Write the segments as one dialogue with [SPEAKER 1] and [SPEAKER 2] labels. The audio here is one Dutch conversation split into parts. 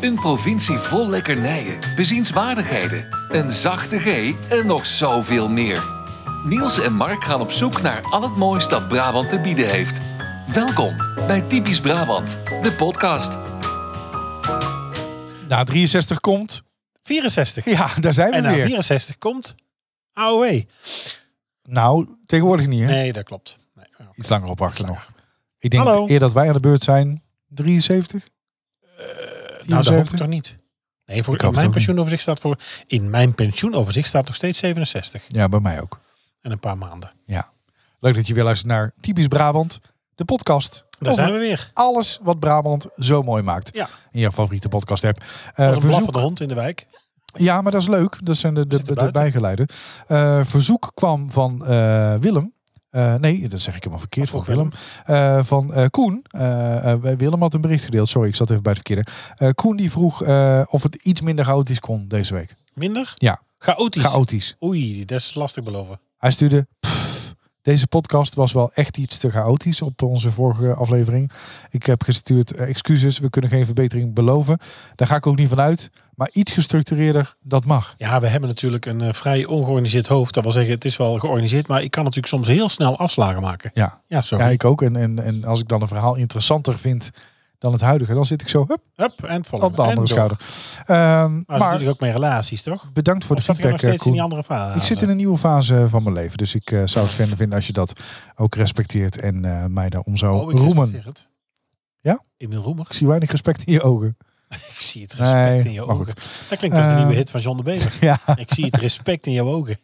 [SPEAKER 1] Een provincie vol lekkernijen, bezienswaardigheden, een zachte G en nog zoveel meer. Niels en Mark gaan op zoek naar al het moois dat Brabant te bieden heeft. Welkom bij Typisch Brabant, de podcast.
[SPEAKER 2] Nou, 63 komt.
[SPEAKER 3] 64.
[SPEAKER 2] Ja, daar zijn we
[SPEAKER 3] en na
[SPEAKER 2] weer.
[SPEAKER 3] 64 komt
[SPEAKER 2] E.
[SPEAKER 3] AOW.
[SPEAKER 2] Nou, tegenwoordig niet, hè?
[SPEAKER 3] Nee, dat klopt. Nee, Nou, oké.
[SPEAKER 2] Iets langer op wachten nog. Ik denk
[SPEAKER 3] Hallo.
[SPEAKER 2] eer dat wij aan de beurt zijn, 73?
[SPEAKER 3] Nou, dat hoop
[SPEAKER 2] 74?
[SPEAKER 3] ik toch niet. Nee, voor
[SPEAKER 2] Ik hoop het
[SPEAKER 3] in
[SPEAKER 2] ook
[SPEAKER 3] mijn
[SPEAKER 2] niet.
[SPEAKER 3] pensioenoverzicht staat voor in mijn pensioenoverzicht staat nog steeds 67
[SPEAKER 2] Ja, bij mij ook.
[SPEAKER 3] en een paar maanden.
[SPEAKER 2] Leuk dat je weer luistert naar Typisch Brabant, de podcast.
[SPEAKER 3] Daar
[SPEAKER 2] over
[SPEAKER 3] zijn we weer.
[SPEAKER 2] alles wat Brabant zo mooi maakt.
[SPEAKER 3] Ja.
[SPEAKER 2] In je favoriete Eh, podcast app.
[SPEAKER 3] Als een blaffende hond in de wijk.
[SPEAKER 2] Ja, maar dat is leuk. Dat zijn de, de,
[SPEAKER 3] Zit er
[SPEAKER 2] de
[SPEAKER 3] buiten.
[SPEAKER 2] bijgeleiden. Eh, verzoek kwam van eh, Willem. Eh, nee, dat zeg ik helemaal verkeerd
[SPEAKER 3] Wat
[SPEAKER 2] van
[SPEAKER 3] voor
[SPEAKER 2] Willem. Eh, van eh, Koen. Eh, eh, bij Willem had een bericht gedeeld. Sorry, ik zat even bij het verkeerde. Eh, Koen die vroeg eh, of het iets minder chaotisch kon deze week.
[SPEAKER 3] Minder?
[SPEAKER 2] Ja.
[SPEAKER 3] Chaotisch.
[SPEAKER 2] Chaotisch.
[SPEAKER 3] Oei, dat is lastig beloven.
[SPEAKER 2] Hij stuurde... "Pff, deze podcast was wel echt iets te chaotisch op onze vorige aflevering. Ik heb gestuurd eh, excuses. We kunnen geen verbetering beloven. Daar ga ik ook niet van uit. Maar iets gestructureerder, dat mag.
[SPEAKER 3] Ja, we hebben natuurlijk een eh, vrij ongeorganiseerd hoofd. Dat wil zeggen, het is wel georganiseerd, maar ik kan natuurlijk soms heel snel afslagen maken.
[SPEAKER 2] Ja.
[SPEAKER 3] Ja, zo.
[SPEAKER 2] Ja, ik ook. En, en, en als ik dan een verhaal interessanter vind dan het huidige, dan zit ik zo hup,
[SPEAKER 3] Hup, en het volgende.
[SPEAKER 2] op de
[SPEAKER 3] En
[SPEAKER 2] andere schouder.
[SPEAKER 3] door.
[SPEAKER 2] Ehm,
[SPEAKER 3] Maar, dat
[SPEAKER 2] maar
[SPEAKER 3] doe ik ook met relaties, toch?
[SPEAKER 2] bedankt voor
[SPEAKER 3] Of
[SPEAKER 2] de
[SPEAKER 3] zat ik nog
[SPEAKER 2] feedback, eh,
[SPEAKER 3] steeds in die
[SPEAKER 2] Koen.
[SPEAKER 3] andere fase?
[SPEAKER 2] Ik zit in een nieuwe fase van mijn leven, dus ik eh, zou het fijn vinden als je dat ook respecteert en eh, mij daarom zou
[SPEAKER 3] Oh, ik
[SPEAKER 2] roemen.
[SPEAKER 3] respecteer het.
[SPEAKER 2] Ja?
[SPEAKER 3] Emiel Roemer.
[SPEAKER 2] Ik zie weinig respect in je ogen.
[SPEAKER 3] Ik zie het respect
[SPEAKER 2] Nee,
[SPEAKER 3] in je
[SPEAKER 2] maar
[SPEAKER 3] ogen.
[SPEAKER 2] goed.
[SPEAKER 3] Dat klinkt als een
[SPEAKER 2] Eh,
[SPEAKER 3] nieuwe hit van John de Bever.
[SPEAKER 2] Ja,
[SPEAKER 3] Ik zie het respect in jouw ogen.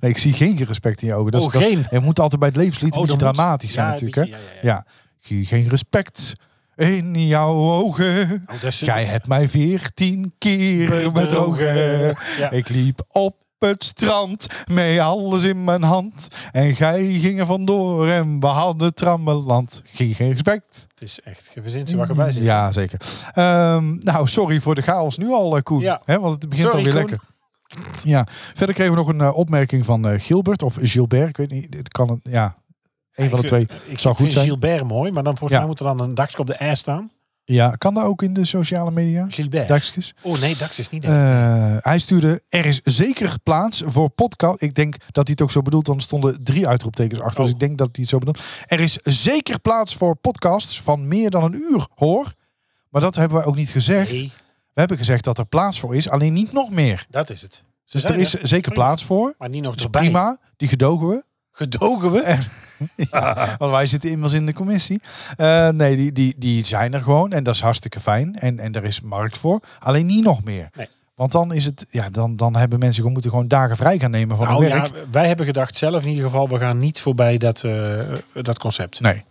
[SPEAKER 2] nee, ik zie geen respect in je ogen. Dat is,
[SPEAKER 3] Oh,
[SPEAKER 2] dat is-
[SPEAKER 3] geen.
[SPEAKER 2] je moet altijd bij het levenslied een beetje
[SPEAKER 3] dat Oh, moet-
[SPEAKER 2] dramatisch zijn
[SPEAKER 3] ja,
[SPEAKER 2] natuurlijk.
[SPEAKER 3] een
[SPEAKER 2] hè?
[SPEAKER 3] beetje,
[SPEAKER 2] Ja. Ik zie geen respect in jouw ogen.
[SPEAKER 3] Oh, dat is-
[SPEAKER 2] Jij hebt mij veertien keer bedrogen.
[SPEAKER 3] Ja.
[SPEAKER 2] eh, Ik liep op het strand met alles in mijn hand. En gij ging er vandoor en we hadden trammeland. Ging geen respect.
[SPEAKER 3] Het is echt, je verzint ze waar je bij zit.
[SPEAKER 2] Ja, zeker. Ehm, nou, sorry voor de chaos nu al, eh, Koen.
[SPEAKER 3] Ja.
[SPEAKER 2] Hè, want het begint
[SPEAKER 3] Sorry,
[SPEAKER 2] alweer
[SPEAKER 3] Koen.
[SPEAKER 2] lekker. Ja, verder kregen we nog een eh, opmerking van eh, Gilbert of Gilbert. Ik weet niet, het kan een, ja, een van de
[SPEAKER 3] Ik-
[SPEAKER 2] twee.
[SPEAKER 3] Ik
[SPEAKER 2] zou
[SPEAKER 3] zou
[SPEAKER 2] goed
[SPEAKER 3] goed
[SPEAKER 2] zijn.
[SPEAKER 3] Gilbert mooi, maar dan volgens
[SPEAKER 2] Ja.
[SPEAKER 3] mij moet er dan een dakje op de R staan.
[SPEAKER 2] Ja, kan dat ook in de sociale media?
[SPEAKER 3] Gilbert.
[SPEAKER 2] Dagjes.
[SPEAKER 3] Oh nee, dakje is niet echt.
[SPEAKER 2] Eh, hij stuurde, er is zeker plaats voor podcast. Ik denk dat hij het ook zo bedoelt, want er stonden drie uitroeptekens achter. Dus
[SPEAKER 3] Oh.
[SPEAKER 2] ik denk dat hij het zo bedoelt. Er is zeker plaats voor podcasts van meer dan een uur, hoor. Maar dat hebben wij ook niet gezegd.
[SPEAKER 3] nee,
[SPEAKER 2] We hebben gezegd dat er plaats voor is, alleen niet nog meer.
[SPEAKER 3] dat is het. Ze
[SPEAKER 2] Dus
[SPEAKER 3] zijn
[SPEAKER 2] er is zeker
[SPEAKER 3] Prima.
[SPEAKER 2] plaats voor.
[SPEAKER 3] maar niet nog
[SPEAKER 2] Dat is
[SPEAKER 3] erbij.
[SPEAKER 2] prima, die gedogen we.
[SPEAKER 3] Gedogen we.
[SPEAKER 2] Want wij zitten inmiddels in de commissie. Eh, nee, die, die, die zijn er gewoon. En dat is hartstikke fijn. En, en er is markt voor. Alleen niet nog meer.
[SPEAKER 3] Nee.
[SPEAKER 2] Want dan is het, ja, dan, dan hebben mensen gewoon moeten gewoon dagen vrij gaan nemen van
[SPEAKER 3] Nou
[SPEAKER 2] hun werk.
[SPEAKER 3] ja, wij hebben gedacht zelf in ieder geval, we gaan niet voorbij dat, eh, dat concept.
[SPEAKER 2] Nee.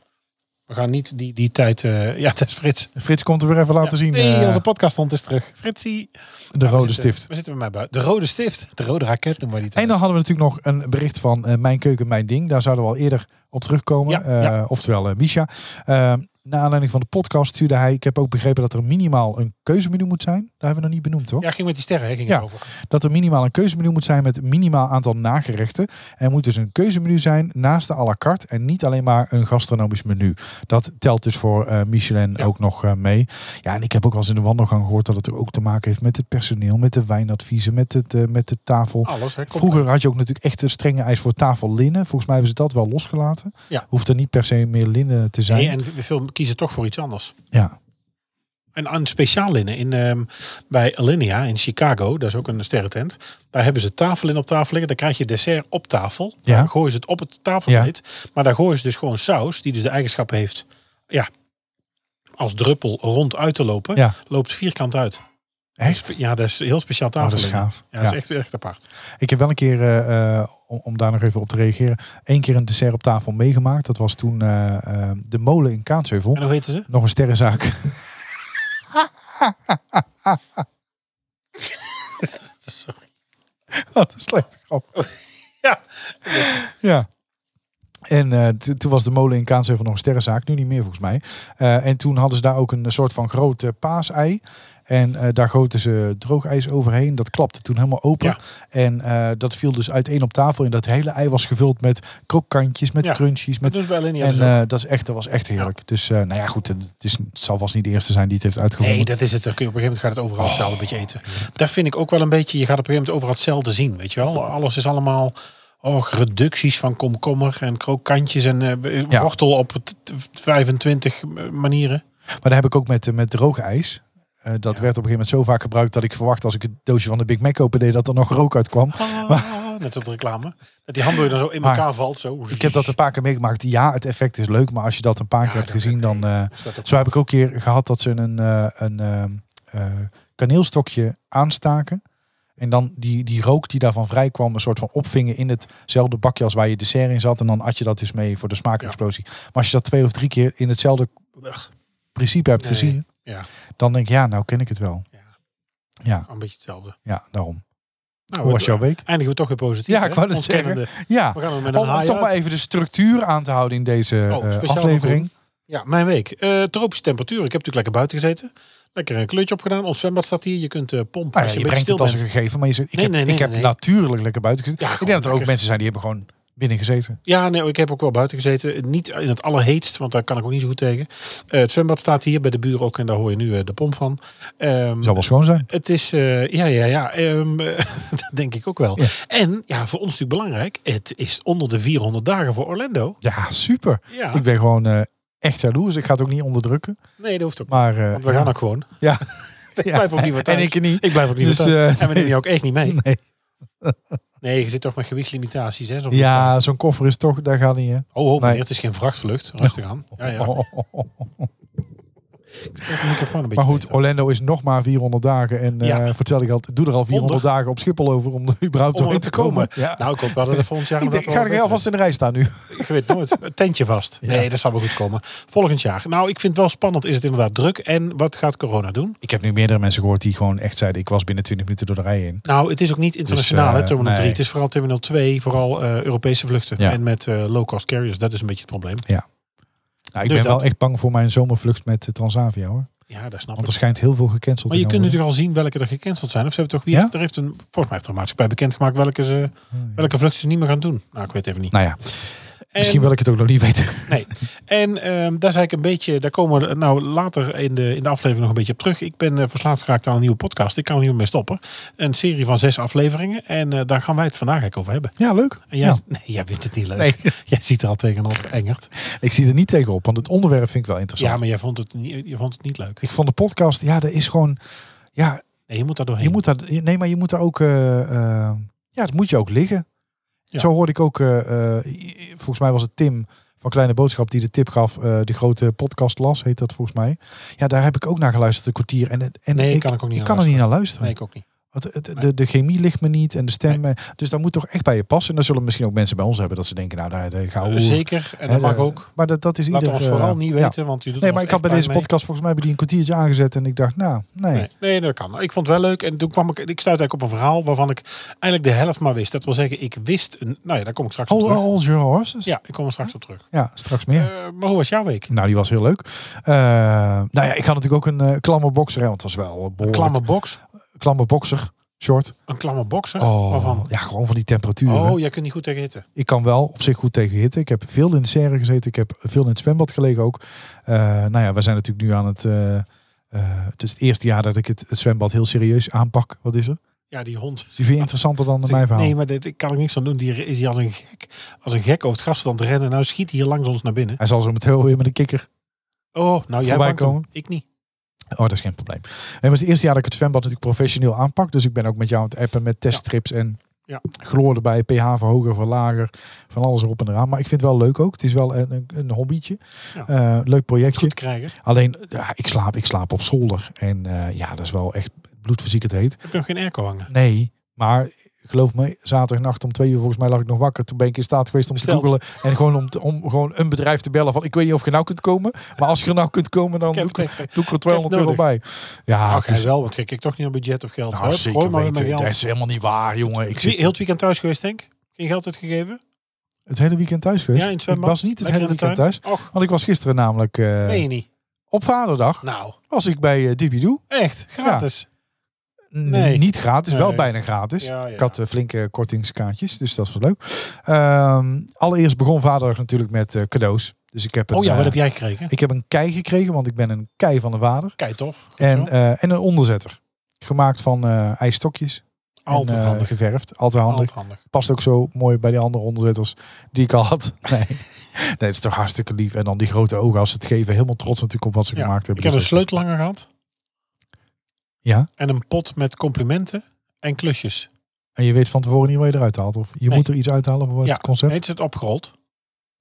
[SPEAKER 3] We gaan niet die, die tijd... eh, ja, dat is Frits.
[SPEAKER 2] Frits komt er weer even laten zien.
[SPEAKER 3] Nee,
[SPEAKER 2] eh,
[SPEAKER 3] onze podcasthond is terug. Fritsie.
[SPEAKER 2] de
[SPEAKER 3] We
[SPEAKER 2] rode
[SPEAKER 3] zitten-
[SPEAKER 2] stift.
[SPEAKER 3] We zitten bij mij buiten. De rode stift. De rode raket noemen we die.
[SPEAKER 2] En dan hadden we natuurlijk nog een bericht van eh, Mijn Keuken, Mijn Ding. Daar zouden we al eerder op terugkomen.
[SPEAKER 3] Ja,
[SPEAKER 2] Eh,
[SPEAKER 3] ja.
[SPEAKER 2] Oftewel eh Misha. Eh, naar aanleiding van de podcast stuurde hij... Ik heb ook begrepen dat er minimaal een keuzemenu moet zijn. Daar hebben we nog niet benoemd, hoor.
[SPEAKER 3] Ja, ging met die sterren hè, ging
[SPEAKER 2] nou. Ja.
[SPEAKER 3] het over.
[SPEAKER 2] dat er minimaal een keuzemenu moet zijn met minimaal aantal nagerechten. Er moet dus een keuzemenu zijn naast de à la carte en niet alleen maar een gastronomisch menu. Dat telt dus voor eh, Michelin
[SPEAKER 3] Ja.
[SPEAKER 2] ook nog eh, mee. Ja, en ik heb ook wel eens in de wandelgang gehoord dat het ook te maken heeft met het personeel, met de wijnadviezen, met, het, eh, met de tafel.
[SPEAKER 3] Alles. Hè, compleet.
[SPEAKER 2] Vroeger had je ook natuurlijk echt een strenge eis voor tafellinnen. Volgens mij hebben ze dat wel losgelaten.
[SPEAKER 3] Ja.
[SPEAKER 2] Hoeft er niet per se meer linnen te zijn.
[SPEAKER 3] Nee, en we- veel kiezen toch voor iets anders.
[SPEAKER 2] ja.
[SPEAKER 3] En aan speciaal linnen in, ehm, bij Alinea in Chicago, dat is ook een sterrentent. Daar hebben ze tafel in op tafel liggen. Dan krijg je dessert op tafel.
[SPEAKER 2] Ja.
[SPEAKER 3] Dan gooien ze het op het tafelkleed. Maar daar gooien ze dus gewoon saus, die dus de eigenschap heeft. Ja, als druppel rond uit te lopen,
[SPEAKER 2] Ja.
[SPEAKER 3] loopt vierkant uit.
[SPEAKER 2] Echt?
[SPEAKER 3] Ja, dat is heel speciaal
[SPEAKER 2] Oh, dat
[SPEAKER 3] tafel.
[SPEAKER 2] is gaaf.
[SPEAKER 3] Ja, dat is echt, echt apart.
[SPEAKER 2] Ik heb wel een keer, eh, eh, om, om daar nog even op te reageren, één keer een dessert op tafel meegemaakt. Dat was toen eh, eh, de molen in Kaatsheuvel.
[SPEAKER 3] En hoe heten ze?
[SPEAKER 2] Nog een sterrenzaak.
[SPEAKER 3] Sorry.
[SPEAKER 2] Wat een slechte grap.
[SPEAKER 3] Ja,
[SPEAKER 2] Ja. En eh, t- toen was de molen in Kaansheuvel nog een sterrenzaak. Nu niet meer volgens mij. Eh, en toen hadden ze daar ook een soort van groot eh, paasei. En eh, daar goten ze droog ijs overheen. Dat klapte toen helemaal open.
[SPEAKER 3] Ja.
[SPEAKER 2] En eh, dat viel dus uiteen op tafel. En dat hele ei was gevuld met krokantjes, met
[SPEAKER 3] Ja.
[SPEAKER 2] crunchies, met
[SPEAKER 3] Dat is bij Alinea
[SPEAKER 2] en
[SPEAKER 3] dus ook.
[SPEAKER 2] eh, dat, is echt, dat was echt heerlijk. Dus eh, nou ja, goed, het, is, het zal vast niet de eerste zijn die het heeft uitgevonden.
[SPEAKER 3] Nee, dat is het. Dan kun je op een gegeven moment gaat het overal
[SPEAKER 2] Oh.
[SPEAKER 3] hetzelfde beetje eten. Daar vind ik ook wel een beetje, je gaat op een gegeven moment overal hetzelfde zien, weet je wel. Alles is allemaal, oh, reducties van komkommer en krokantjes en eh,
[SPEAKER 2] Ja.
[SPEAKER 3] wortel op t- t- 25 manieren.
[SPEAKER 2] Maar daar heb ik ook met, eh, met droog ijs. Eh, dat werd op een gegeven moment zo vaak gebruikt dat ik verwacht als ik het doosje van de Big Mac opende dat er nog rook uitkwam.
[SPEAKER 3] Ah, net op de reclame. Dat die hamburger dan zo in
[SPEAKER 2] Maar
[SPEAKER 3] elkaar valt. Zo.
[SPEAKER 2] Ik heb dat een paar keer meegemaakt. Ja, het effect is leuk, maar als je dat een paar keer hebt
[SPEAKER 3] dat-
[SPEAKER 2] gezien, dan. eh,
[SPEAKER 3] Is dat ook-
[SPEAKER 2] zo heb ik ook een keer gehad dat ze een, eh, een eh, eh, kaneelstokje aanstaken. En dan die, die rook die daarvan vrijkwam, een soort van opvingen in hetzelfde bakje als waar je dessert in zat. En dan at je dat dus mee voor de smaakexplosie. Maar als je dat twee of drie keer in hetzelfde
[SPEAKER 3] Ugh,
[SPEAKER 2] principe hebt
[SPEAKER 3] Nee,
[SPEAKER 2] gezien,
[SPEAKER 3] ja.
[SPEAKER 2] dan denk ik, ja, nou ken ik het wel.
[SPEAKER 3] Oh, Een beetje hetzelfde.
[SPEAKER 2] Ja, daarom.
[SPEAKER 3] Nou,
[SPEAKER 2] Hoe was jouw week?
[SPEAKER 3] Eindigen we toch weer positief.
[SPEAKER 2] Ja,
[SPEAKER 3] hè?
[SPEAKER 2] ik wou net zeggen.
[SPEAKER 3] Ontkennende.
[SPEAKER 2] Ja,
[SPEAKER 3] We gaan hem met een
[SPEAKER 2] om, om
[SPEAKER 3] haai
[SPEAKER 2] toch maar
[SPEAKER 3] uit. Oh,
[SPEAKER 2] even de structuur aan te houden in deze eh,
[SPEAKER 3] speciaal
[SPEAKER 2] aflevering.
[SPEAKER 3] Ja, mijn week. Eh, tropische temperatuur. Ik heb natuurlijk lekker buiten gezeten. Lekker een kleurtje opgedaan. Ons zwembad staat hier. Je kunt eh pompen
[SPEAKER 2] Nou,
[SPEAKER 3] als
[SPEAKER 2] ja,
[SPEAKER 3] je,
[SPEAKER 2] je
[SPEAKER 3] een
[SPEAKER 2] brengt
[SPEAKER 3] beetje stil
[SPEAKER 2] het als
[SPEAKER 3] bent.
[SPEAKER 2] een gegeven, maar je zegt, ik
[SPEAKER 3] Nee,
[SPEAKER 2] heb,
[SPEAKER 3] nee,
[SPEAKER 2] ik
[SPEAKER 3] nee,
[SPEAKER 2] heb
[SPEAKER 3] nee.
[SPEAKER 2] natuurlijk lekker buiten gezeten.
[SPEAKER 3] Ja,
[SPEAKER 2] ik denk
[SPEAKER 3] gewoon
[SPEAKER 2] dat er ook
[SPEAKER 3] lekker.
[SPEAKER 2] mensen zijn die hebben gewoon binnen gezeten.
[SPEAKER 3] Ja, nee, oh, ik heb ook wel buiten gezeten. Niet in het allerheetst, want daar kan ik ook niet zo goed tegen. Eh, het zwembad staat hier bij de buur ook en daar hoor je nu eh, de pomp van. Ehm,
[SPEAKER 2] Zou wel schoon zijn.
[SPEAKER 3] Het is, eh, ja, ja, ja, ehm, dat denk ik ook wel.
[SPEAKER 2] Ja.
[SPEAKER 3] En ja, voor ons natuurlijk belangrijk, het is onder de 400 dagen voor Orlando.
[SPEAKER 2] Ja, super.
[SPEAKER 3] Ja,
[SPEAKER 2] Ik ben gewoon eh, echt jaloers. Ik ga het ook niet onderdrukken.
[SPEAKER 3] nee, dat hoeft ook niet.
[SPEAKER 2] Maar eh,
[SPEAKER 3] Want we
[SPEAKER 2] ja.
[SPEAKER 3] gaan ook gewoon.
[SPEAKER 2] Ja.
[SPEAKER 3] ik
[SPEAKER 2] Ja.
[SPEAKER 3] blijf ook niet meer thuis.
[SPEAKER 2] En ik niet.
[SPEAKER 3] Ik blijf ook niet
[SPEAKER 2] Dus,
[SPEAKER 3] meer thuis.
[SPEAKER 2] eh,
[SPEAKER 3] en we nemen je ook echt niet mee.
[SPEAKER 2] nee.
[SPEAKER 3] Nee, je zit toch met gewichtslimitaties, hè? zo'n vliegtuig.
[SPEAKER 2] Ja, zo'n koffer is toch, daar gaat niet. Hè?
[SPEAKER 3] Oh, oh meneer,
[SPEAKER 2] Nee.
[SPEAKER 3] het is geen vrachtvlucht. Rustig aan. Ja, ja.
[SPEAKER 2] Oh, oh, oh, oh.
[SPEAKER 3] Ik de microfoon een beetje
[SPEAKER 2] Maar goed,
[SPEAKER 3] beter.
[SPEAKER 2] Orlando is nog maar 400 dagen. En eh
[SPEAKER 3] Ja.
[SPEAKER 2] voor hetzelfde geld, doe er al 400
[SPEAKER 3] Onder.
[SPEAKER 2] dagen op Schiphol over om er überhaupt
[SPEAKER 3] Om er
[SPEAKER 2] doorheen
[SPEAKER 3] te komen.
[SPEAKER 2] Ja.
[SPEAKER 3] Nou, ik hoop wel dat het volgend jaar...
[SPEAKER 2] ik denk, ik ga er
[SPEAKER 3] alvast
[SPEAKER 2] alvast in de rij staan nu.
[SPEAKER 3] Ik weet nooit. Een Tentje vast. Nee, dat zal wel goed komen. Volgend jaar. Nou, ik vind het wel spannend. Is het inderdaad druk? En wat gaat corona doen?
[SPEAKER 2] Ik heb nu meerdere mensen gehoord die gewoon echt zeiden... ik was binnen 20 minuten door de rij heen.
[SPEAKER 3] Nou, het is ook niet internationaal,
[SPEAKER 2] Dus, eh,
[SPEAKER 3] hè, Terminal
[SPEAKER 2] nee.
[SPEAKER 3] 3. Het is vooral Terminal 2, vooral eh, Europese vluchten.
[SPEAKER 2] Ja.
[SPEAKER 3] En met eh, low-cost carriers. Dat is een beetje het probleem.
[SPEAKER 2] Nou, ik
[SPEAKER 3] Dus
[SPEAKER 2] ben
[SPEAKER 3] dat.
[SPEAKER 2] wel echt bang voor mijn zomervlucht met eh, Transavia hoor.
[SPEAKER 3] Ja, daar snap
[SPEAKER 2] Want
[SPEAKER 3] ik.
[SPEAKER 2] er schijnt heel veel gecanceld
[SPEAKER 3] Maar
[SPEAKER 2] te
[SPEAKER 3] je
[SPEAKER 2] gaan worden.
[SPEAKER 3] kunt natuurlijk al zien welke er gecanceld zijn. Of ze hebben toch wie
[SPEAKER 2] Ja? Oh,
[SPEAKER 3] heeft, er heeft een, volgens mij heeft er een maatschappij bekendgemaakt welke, ze, welke vluchten ze niet meer gaan doen. Nou, ik weet even niet.
[SPEAKER 2] Nou ja,
[SPEAKER 3] En-
[SPEAKER 2] misschien wil ik het ook nog niet weten.
[SPEAKER 3] Nee. En ehm, daar zei ik een beetje, daar komen we nou later in de, in de aflevering nog een beetje op terug. Ik ben eh, verslaafd geraakt aan een nieuwe podcast. Ik kan er niet meer mee stoppen. Een serie van zes afleveringen. En eh, daar gaan wij het vandaag eigenlijk over hebben.
[SPEAKER 2] Ja, leuk.
[SPEAKER 3] En jij,
[SPEAKER 2] Ja.
[SPEAKER 3] nee, jij vindt het niet leuk.
[SPEAKER 2] Nee.
[SPEAKER 3] Jij ziet er al tegenop, Engert.
[SPEAKER 2] Ik zie er niet tegenop, want het onderwerp vind ik wel interessant.
[SPEAKER 3] Ja, maar jij vond het, niet- je vond het niet leuk.
[SPEAKER 2] Ik vond de podcast, ja, dat is gewoon... Ja,
[SPEAKER 3] Nee, je moet daar doorheen.
[SPEAKER 2] je moet daar, nee, maar je moet daar ook... eh, eh, ja, dat moet je ook liggen.
[SPEAKER 3] Ja.
[SPEAKER 2] Zo hoorde ik ook, eh, eh, volgens mij was het Tim van Kleine Boodschap die de tip gaf. eh de grote podcast las, heet dat volgens mij. Ja, daar heb ik ook naar geluisterd, een kwartier. En, het- en
[SPEAKER 3] nee,
[SPEAKER 2] ik,
[SPEAKER 3] kan ik ook niet
[SPEAKER 2] ik
[SPEAKER 3] aan
[SPEAKER 2] kan er niet
[SPEAKER 3] luisteren.
[SPEAKER 2] naar luisteren.
[SPEAKER 3] Nee, ik ook niet.
[SPEAKER 2] Want het- het-
[SPEAKER 3] Nee.
[SPEAKER 2] de, de chemie ligt me niet en de stem. eh, Dus dat moet toch echt bij je passen. En dan zullen misschien ook mensen bij ons hebben dat ze denken, nou, daar, daar gaan we.
[SPEAKER 3] Eh, Zeker, en dat
[SPEAKER 2] Hè,
[SPEAKER 3] mag
[SPEAKER 2] de-
[SPEAKER 3] ook.
[SPEAKER 2] Maar dat, dat is
[SPEAKER 3] Laat
[SPEAKER 2] ieder,
[SPEAKER 3] ons
[SPEAKER 2] eh,
[SPEAKER 3] vooral niet
[SPEAKER 2] ja.
[SPEAKER 3] weten, want je doet
[SPEAKER 2] Nee,
[SPEAKER 3] ons
[SPEAKER 2] maar ik had
[SPEAKER 3] echt
[SPEAKER 2] bij deze
[SPEAKER 3] pijn mee.
[SPEAKER 2] podcast volgens mij bij die een kwartiertje aangezet. En ik dacht, nou, nee.
[SPEAKER 3] Nee. nee, dat kan. Ik vond het wel leuk. En toen kwam ik, ik stuitte eigenlijk op een verhaal waarvan ik eigenlijk de helft maar wist. Dat wil zeggen, ik wist, een, nou ja, daar kom ik straks op
[SPEAKER 2] All,
[SPEAKER 3] terug.
[SPEAKER 2] all your horses.
[SPEAKER 3] Ja, ik kom er straks op terug.
[SPEAKER 2] oh, Ja, straks meer.
[SPEAKER 3] Eh, maar hoe was jouw week?
[SPEAKER 2] nou, die was heel leuk. Eh, nou ja, ik had natuurlijk ook een eh, klamme bokser. Hè, want het was wel
[SPEAKER 3] Een
[SPEAKER 2] behoorlijk.
[SPEAKER 3] klamme box?
[SPEAKER 2] klamme bokser. Short.
[SPEAKER 3] Een klamme boxer?
[SPEAKER 2] Oh,
[SPEAKER 3] Waarvan?
[SPEAKER 2] Ja, gewoon van die temperaturen.
[SPEAKER 3] Oh, jij kunt niet goed tegen hitte.
[SPEAKER 2] Ik kan wel op zich goed tegen hitte. Ik heb veel in de serre gezeten. Ik heb veel in het zwembad gelegen ook. Eh, nou ja, we zijn natuurlijk nu aan het... eh, eh, het is het eerste jaar dat ik het, het zwembad heel serieus aanpak. Wat is er?
[SPEAKER 3] Ja, die hond.
[SPEAKER 2] Dus die vind je interessanter dan mijn verhaal?
[SPEAKER 3] Nee, maar dit, ik kan er niks aan doen. Die is hier als een gek, als een gek over het grasland te rennen. Nou schiet hij hier langs ons naar binnen.
[SPEAKER 2] Hij zal zo meteen wel weer met een kikker.
[SPEAKER 3] Oh, nou jij
[SPEAKER 2] Voorbij
[SPEAKER 3] vangt hem.
[SPEAKER 2] komen.
[SPEAKER 3] Ik niet.
[SPEAKER 2] Oh, dat is geen probleem. En het was het eerste jaar dat ik het zwembad natuurlijk professioneel aanpak. Dus ik ben ook met jou aan het appen met teststrips en
[SPEAKER 3] Ja.
[SPEAKER 2] chloor erbij. pH verhoger, verlager, van alles erop en eraan. Maar ik vind het wel leuk ook. Het is wel een, een, een hobbytje.
[SPEAKER 3] Ja.
[SPEAKER 2] Eh, leuk
[SPEAKER 3] Goed
[SPEAKER 2] projectje.
[SPEAKER 3] te krijgen.
[SPEAKER 2] Alleen, ja, ik, slaap, ik slaap op zolder. En eh, ja, dat is wel echt bloedverziekend heet.
[SPEAKER 3] Heb je nog geen airco hangen?
[SPEAKER 2] Nee, maar geloof me, zaterdagnacht om twee uur volgens mij lag ik nog wakker. Toen ben ik in staat geweest om
[SPEAKER 3] Besteld.
[SPEAKER 2] te googelen. En gewoon om, te- om gewoon een bedrijf te bellen van ik weet niet of je nou kunt komen. Maar als je er nou kunt komen, dan
[SPEAKER 3] Ik
[SPEAKER 2] doe
[SPEAKER 3] heb
[SPEAKER 2] ik, er-
[SPEAKER 3] het echt-
[SPEAKER 2] doe ik er 200 euro
[SPEAKER 3] nodig.
[SPEAKER 2] bij. Ja,
[SPEAKER 3] Ach,
[SPEAKER 2] Ah, het is,
[SPEAKER 3] hij wel, want kijk ik toch niet aan budget of geld.
[SPEAKER 2] nou,
[SPEAKER 3] Hup,
[SPEAKER 2] zeker
[SPEAKER 3] gooi maar weer
[SPEAKER 2] weten.
[SPEAKER 3] mijn
[SPEAKER 2] Dat
[SPEAKER 3] geld.
[SPEAKER 2] is helemaal niet waar, jongen. Ik
[SPEAKER 3] Zie-
[SPEAKER 2] zit,
[SPEAKER 3] Heel het weekend thuis geweest, denk ik? Geen geld uitgegeven?
[SPEAKER 2] Het hele weekend thuis geweest?
[SPEAKER 3] Ja, in het
[SPEAKER 2] ik
[SPEAKER 3] zwembad.
[SPEAKER 2] was niet het
[SPEAKER 3] Lekker
[SPEAKER 2] hele
[SPEAKER 3] in de
[SPEAKER 2] weekend
[SPEAKER 3] tuin.
[SPEAKER 2] thuis.
[SPEAKER 3] Och,
[SPEAKER 2] Want ik was gisteren namelijk eh,
[SPEAKER 3] meen je niet.
[SPEAKER 2] op vaderdag.
[SPEAKER 3] Nou,
[SPEAKER 2] Was ik bij eh Doe.
[SPEAKER 3] echt, gratis. Nee.
[SPEAKER 2] Niet gratis, wel
[SPEAKER 3] Nee.
[SPEAKER 2] bijna gratis.
[SPEAKER 3] Ja, ja.
[SPEAKER 2] Ik had eh, flinke kortingskaartjes, dus dat is wel leuk. Ehm, allereerst begon vaderdag natuurlijk met eh, cadeaus. Dus ik heb een,
[SPEAKER 3] Oh ja, wat
[SPEAKER 2] eh,
[SPEAKER 3] heb jij gekregen?
[SPEAKER 2] ik heb een kei gekregen, want ik ben een kei van de vader.
[SPEAKER 3] Kijk tof. Goed
[SPEAKER 2] En,
[SPEAKER 3] zo.
[SPEAKER 2] eh, en een onderzetter. Gemaakt van eh ijsstokjes.
[SPEAKER 3] altijd
[SPEAKER 2] en, eh,
[SPEAKER 3] handig.
[SPEAKER 2] Geverfd. Altijd handig.
[SPEAKER 3] Altijd handig.
[SPEAKER 2] Past ook zo mooi bij die andere onderzetters die ik al had. Nee. nee, dat is toch hartstikke lief. En dan die grote ogen als ze het geven. Helemaal trots natuurlijk op wat ze
[SPEAKER 3] Ja,
[SPEAKER 2] gemaakt
[SPEAKER 3] Ik
[SPEAKER 2] hebben.
[SPEAKER 3] heb een
[SPEAKER 2] Dus dat-
[SPEAKER 3] sleutelhanger gehad.
[SPEAKER 2] Ja?
[SPEAKER 3] En een pot met complimenten en klusjes.
[SPEAKER 2] En je weet van tevoren niet waar je eruit haalt. Of je
[SPEAKER 3] Nee.
[SPEAKER 2] moet er iets uithalen voor wat is
[SPEAKER 3] Ja,
[SPEAKER 2] het concept.
[SPEAKER 3] Heet het opgerold.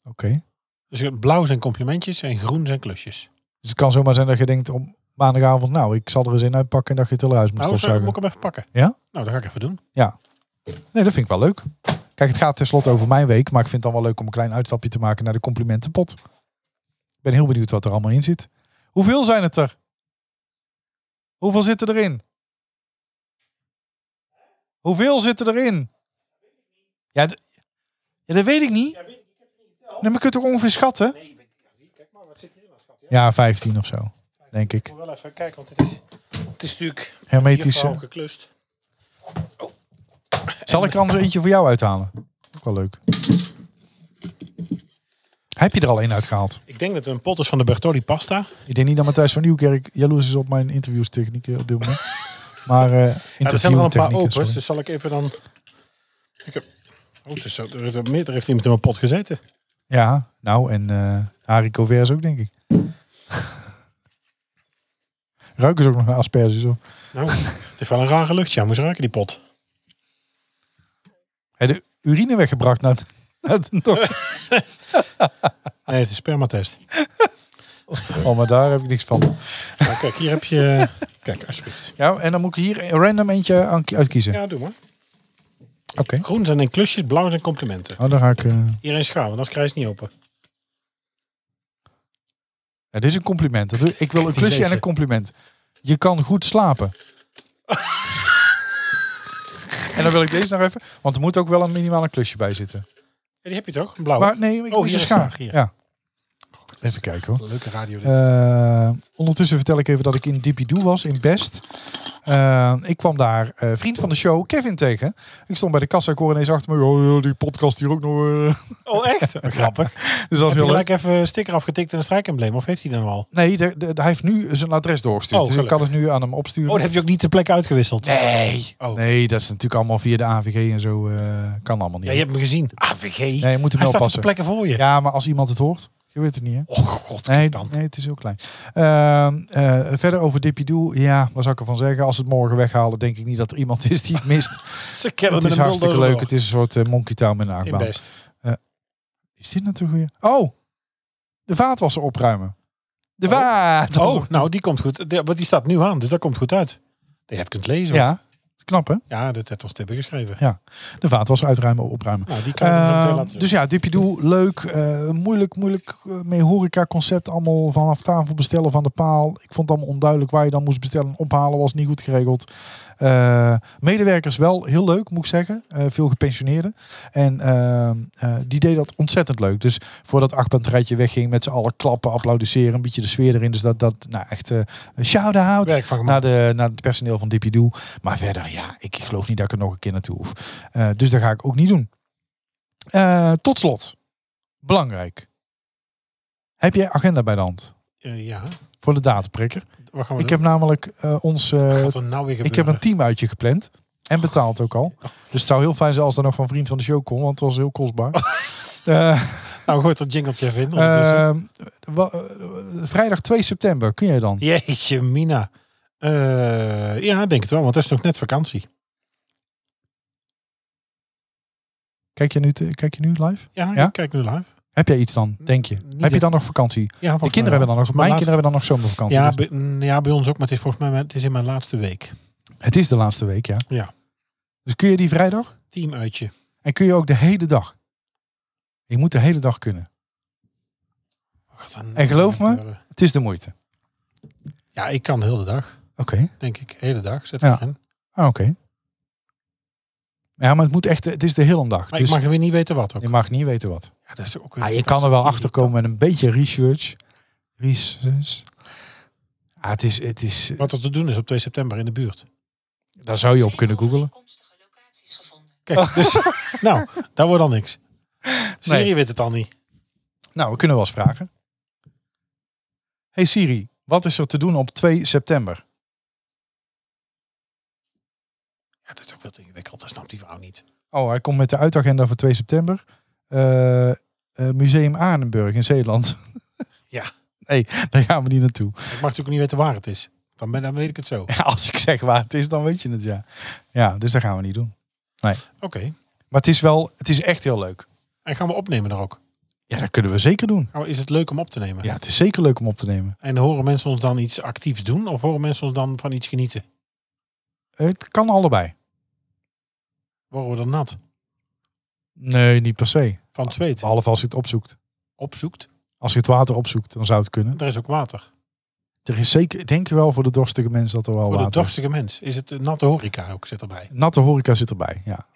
[SPEAKER 2] Oké.
[SPEAKER 3] Dus blauw zijn complimentjes en groen zijn klusjes.
[SPEAKER 2] Dus het kan zomaar zijn dat je denkt om maandagavond. Nou, ik zal er eens in uitpakken en dat je het eruit moet
[SPEAKER 3] Nou, zo, moet
[SPEAKER 2] stofzuigen.
[SPEAKER 3] ik hem even pakken.
[SPEAKER 2] Ja?
[SPEAKER 3] Nou, dat ga ik even doen.
[SPEAKER 2] Nee, dat vind ik wel leuk. Kijk, het gaat tenslotte over mijn week. Maar ik vind het dan wel leuk om een klein uitstapje te maken naar de complimentenpot. Ik ben heel benieuwd wat er allemaal in zit. Hoeveel zijn het er? Hoeveel zitten erin? Hoeveel zitten erin? Ja, d- ja dat weet ik niet. Nee, maar je kunt toch ongeveer schatten?
[SPEAKER 3] Kijk maar, wat zit hierin als schat?
[SPEAKER 2] Ja, 15 of zo, denk ik.
[SPEAKER 3] moet wel even kijken, want het is, het is natuurlijk
[SPEAKER 2] Hermetisch. eh,
[SPEAKER 3] geklust.
[SPEAKER 2] Zal ik er anders eentje voor jou uithalen? Ook wel leuk. Heb je er al een uitgehaald?
[SPEAKER 3] Ik denk dat het een pot is van de Bertolli Pasta.
[SPEAKER 2] Ik denk niet dat Matthijs van Nieuwkerk jaloers is op mijn interviewstechnieken op dit moment. Maar eh
[SPEAKER 3] Ja, er zijn er al een paar
[SPEAKER 2] interviewtechnieken,
[SPEAKER 3] opens,
[SPEAKER 2] sorry.
[SPEAKER 3] dus zal ik even dan... Ik heb... Oh, het is zo, er, heeft, er meer- er heeft iemand in mijn pot gezeten. dus-
[SPEAKER 2] Ja, nou en eh Harry Covers ook denk ik. Ruiken ze ook nog naar asperges? Of?
[SPEAKER 3] Nou, het heeft wel een rare luchtje. Ja, moest raken die pot.
[SPEAKER 2] Hij de urine weggebracht naar, het- naar de dokter.
[SPEAKER 3] Nee, het is spermatest.
[SPEAKER 2] Oh, maar daar heb ik niks van.
[SPEAKER 3] Nou, kijk, hier heb je... Kijk, alsjeblieft.
[SPEAKER 2] Ja, en dan moet ik hier een random eentje aan- uitkiezen.
[SPEAKER 3] Ja, doe maar.
[SPEAKER 2] Oké.
[SPEAKER 3] Groen zijn in klusjes, blauw zijn complimenten.
[SPEAKER 2] Oh, dan ga ik... eh,
[SPEAKER 3] Hier een schaal, want anders krijg je het niet open.
[SPEAKER 2] Ja, dit is een compliment. Dat doe- Ik wil een
[SPEAKER 3] Die
[SPEAKER 2] klusje en
[SPEAKER 3] lezen.
[SPEAKER 2] een compliment. Je kan goed slapen. en dan wil ik deze nog even. Want er moet ook wel een minimale klusje bij zitten.
[SPEAKER 3] Ja, die heb je toch? Een blauwe.
[SPEAKER 2] Maar nee, ik
[SPEAKER 3] Oh,
[SPEAKER 2] moest
[SPEAKER 3] hier
[SPEAKER 2] een
[SPEAKER 3] is
[SPEAKER 2] schaar.
[SPEAKER 3] vraag, hier.
[SPEAKER 2] Ja. Even kijken hoor.
[SPEAKER 3] Leuke radio dit.
[SPEAKER 2] Eh, ondertussen vertel ik even dat ik in Dipidoe was, in Best. Eh, ik kwam daar eh, vriend van de show, Kevin, tegen. Ik stond bij de kassa, ik hoor ineens achter me... Oh, die podcast hier ook nog... eh."
[SPEAKER 3] oh, echt? Grappig.
[SPEAKER 2] dus dat is
[SPEAKER 3] Heb je
[SPEAKER 2] heel leuk.
[SPEAKER 3] gelijk even een sticker afgetikt en een strijkembleem? Of heeft hij dan Oh, al?
[SPEAKER 2] Nee, de- de- hij heeft nu zijn adres doorgestuurd.
[SPEAKER 3] Oh,
[SPEAKER 2] dus ik kan het nu aan hem opsturen.
[SPEAKER 3] Oh, dat heb je ook niet ter plekke uitgewisseld?
[SPEAKER 2] Nee.
[SPEAKER 3] Oh.
[SPEAKER 2] Nee, dat is natuurlijk allemaal via de AVG en zo. eh, kan allemaal niet.
[SPEAKER 3] Ja, je hebt me gezien. AVG.
[SPEAKER 2] Ah, Nee, je moet hem
[SPEAKER 3] hij
[SPEAKER 2] wel
[SPEAKER 3] staat ter
[SPEAKER 2] passen.
[SPEAKER 3] plekke voor je.
[SPEAKER 2] Ja, maar als iemand het hoort, je weet het niet, hè?
[SPEAKER 3] Oh, god.
[SPEAKER 2] Nee,
[SPEAKER 3] kijk dan.
[SPEAKER 2] nee, het is heel klein. Ehm, eh, verder over Dippidoe. Ja, wat zou ik ervan zeggen? Als ze het morgen weghalen, denk ik niet dat er iemand is die het mist.
[SPEAKER 3] Ze kennen
[SPEAKER 2] het
[SPEAKER 3] met
[SPEAKER 2] is
[SPEAKER 3] een
[SPEAKER 2] hartstikke
[SPEAKER 3] bulldozer
[SPEAKER 2] leuk.
[SPEAKER 3] door.
[SPEAKER 2] Het is een soort eh, Monkey Town met een
[SPEAKER 3] In
[SPEAKER 2] achtbaan.
[SPEAKER 3] best.
[SPEAKER 2] Is dit natuurlijk weer? Oh, de vaatwasser opruimen. De
[SPEAKER 3] Oh.
[SPEAKER 2] vaatwasser.
[SPEAKER 3] Oh, nou, die komt goed. De- Want die staat nu aan, dus dat komt goed uit. Dat je het kunt lezen.
[SPEAKER 2] ja, knap hè?
[SPEAKER 3] ja dat heeft ons tippen geschreven.
[SPEAKER 2] De vaatwasser uitruimen, opruimen.
[SPEAKER 3] Nou, die kan ik zo meteen
[SPEAKER 2] Ehm,
[SPEAKER 3] laten zien.
[SPEAKER 2] dus ja, Dipidoe, leuk. eh, moeilijk, moeilijk eh, mee horeca-concept. Allemaal vanaf tafel bestellen van de paal. Ik vond het allemaal onduidelijk waar je dan moest bestellen. en Ophalen was niet goed geregeld. Eh, medewerkers wel heel leuk, moet ik zeggen. Eh, veel gepensioneerden. En ehm, eh, die deden dat ontzettend leuk. Dus voordat achtbandrijtje wegging met z'n allen klappen, applaudisseren. Een beetje de sfeer erin. Dus dat, dat nou echt eh, een shout-out
[SPEAKER 3] Werk van
[SPEAKER 2] naar,
[SPEAKER 3] gemaakt.
[SPEAKER 2] de, naar het personeel van Dipidoe. Maar verder, ja, ik geloof niet dat ik er nog een keer naartoe hoef. Eh, dus dat ga ik ook niet doen. Eh, tot slot, belangrijk. Heb jij agenda bij de hand
[SPEAKER 3] Eh, ja,
[SPEAKER 2] voor de dataprikker?
[SPEAKER 3] wat gaan we
[SPEAKER 2] Nou, Ik
[SPEAKER 3] doen?
[SPEAKER 2] heb namelijk eh, ons... eh,
[SPEAKER 3] Wat er nou weer
[SPEAKER 2] ik heb een
[SPEAKER 3] gebeuren? Oh.
[SPEAKER 2] teamuitje gepland. En betaald ook al. Dus het zou heel fijn zijn als er nog van vriend van de show kon. Want het was heel kostbaar. Eh,
[SPEAKER 3] Nou, gooit dat jingeltje even in. ondertussen.
[SPEAKER 2] eh, wa- eh, vrijdag 2 september, kun jij dan?
[SPEAKER 3] Jeetje, Mina. Eh, ja, ik denk het wel, want het is nog net vakantie.
[SPEAKER 2] Kijk je nu, te- kijk je nu live?
[SPEAKER 3] Ja,
[SPEAKER 2] Ja?
[SPEAKER 3] ik kijk nu live.
[SPEAKER 2] Heb jij iets dan, denk je?
[SPEAKER 3] Niet
[SPEAKER 2] Heb je
[SPEAKER 3] echt.
[SPEAKER 2] dan nog vakantie?
[SPEAKER 3] Ja,
[SPEAKER 2] De
[SPEAKER 3] volgens
[SPEAKER 2] kinderen
[SPEAKER 3] mij
[SPEAKER 2] hebben
[SPEAKER 3] wel.
[SPEAKER 2] dan nog, mijn
[SPEAKER 3] Mijn laatste-
[SPEAKER 2] kinderen hebben dan nog zomervakantie.
[SPEAKER 3] Ja,
[SPEAKER 2] dus.
[SPEAKER 3] bij, mm, ja, bij ons ook, maar het is volgens mij mijn- het is in mijn laatste week.
[SPEAKER 2] Het is de laatste week, ja.
[SPEAKER 3] Ja.
[SPEAKER 2] Dus kun je die vrijdag?
[SPEAKER 3] Teamuitje.
[SPEAKER 2] En kun je ook de hele dag? Je moet de hele dag kunnen.
[SPEAKER 3] Wat gaat er nou
[SPEAKER 2] En geloof me-
[SPEAKER 3] gebeuren?
[SPEAKER 2] Het is de moeite.
[SPEAKER 3] Ja, ik kan de hele dag,
[SPEAKER 2] Oké.
[SPEAKER 3] denk ik. Hele dag, zet
[SPEAKER 2] Ja.
[SPEAKER 3] erin.
[SPEAKER 2] Ah, oké. Ja, maar het moet echt, het is de hele dag.
[SPEAKER 3] Maar
[SPEAKER 2] dus
[SPEAKER 3] ik mag weer niet weten wat ook.
[SPEAKER 2] je mag niet weten wat.
[SPEAKER 3] Ja, dat is ook
[SPEAKER 2] Ah, je kan er wel achter komen met een beetje research. Research. Ah, het is, het is,
[SPEAKER 3] Wat er te doen is op 2 september in de buurt.
[SPEAKER 2] daar zou je op kunnen googlen. Oh.
[SPEAKER 3] Kijk, dus, nou, daar wordt al niks. Siri weet het al niet.
[SPEAKER 2] Nou, we kunnen wel eens vragen. Hey Siri, wat is er te doen op 2 september?
[SPEAKER 3] Ja, dat is ook veel te ingewikkeld. Dat snapt die vrouw niet.
[SPEAKER 2] Oh, hij komt met de uitagenda voor 2 september. Eh, eh, Museum Aardenburg in Zeeland.
[SPEAKER 3] Ja.
[SPEAKER 2] Nee, daar gaan we niet naartoe.
[SPEAKER 3] Ik mag natuurlijk niet weten waar het is. Dan, ben, dan weet ik het zo. Oké.
[SPEAKER 2] Ja, als ik zeg waar het is, dan weet je het ja. Ja, dus dat gaan we niet doen. Maar het is wel, het is echt heel leuk.
[SPEAKER 3] En gaan we opnemen er ook?
[SPEAKER 2] Ja, dat kunnen we zeker doen.
[SPEAKER 3] Gaan we- Is het leuk om op te nemen?
[SPEAKER 2] Ja, het is zeker leuk om op te nemen.
[SPEAKER 3] En horen mensen ons dan iets actiefs doen? Of horen mensen ons dan van iets genieten?
[SPEAKER 2] Het kan allebei.
[SPEAKER 3] Worden we dan nat?
[SPEAKER 2] Nee, niet per se.
[SPEAKER 3] Van het zweet?
[SPEAKER 2] Behalve als je het opzoekt.
[SPEAKER 3] Opzoekt?
[SPEAKER 2] Als je het water opzoekt, dan zou het kunnen.
[SPEAKER 3] Er is ook water.
[SPEAKER 2] Er is zeker, ik denk wel voor de dorstige mens dat er wel
[SPEAKER 3] Voor de
[SPEAKER 2] water is.
[SPEAKER 3] dorstige mens. Is het een natte horeca ook zit erbij?
[SPEAKER 2] Natte horeca zit erbij, ja.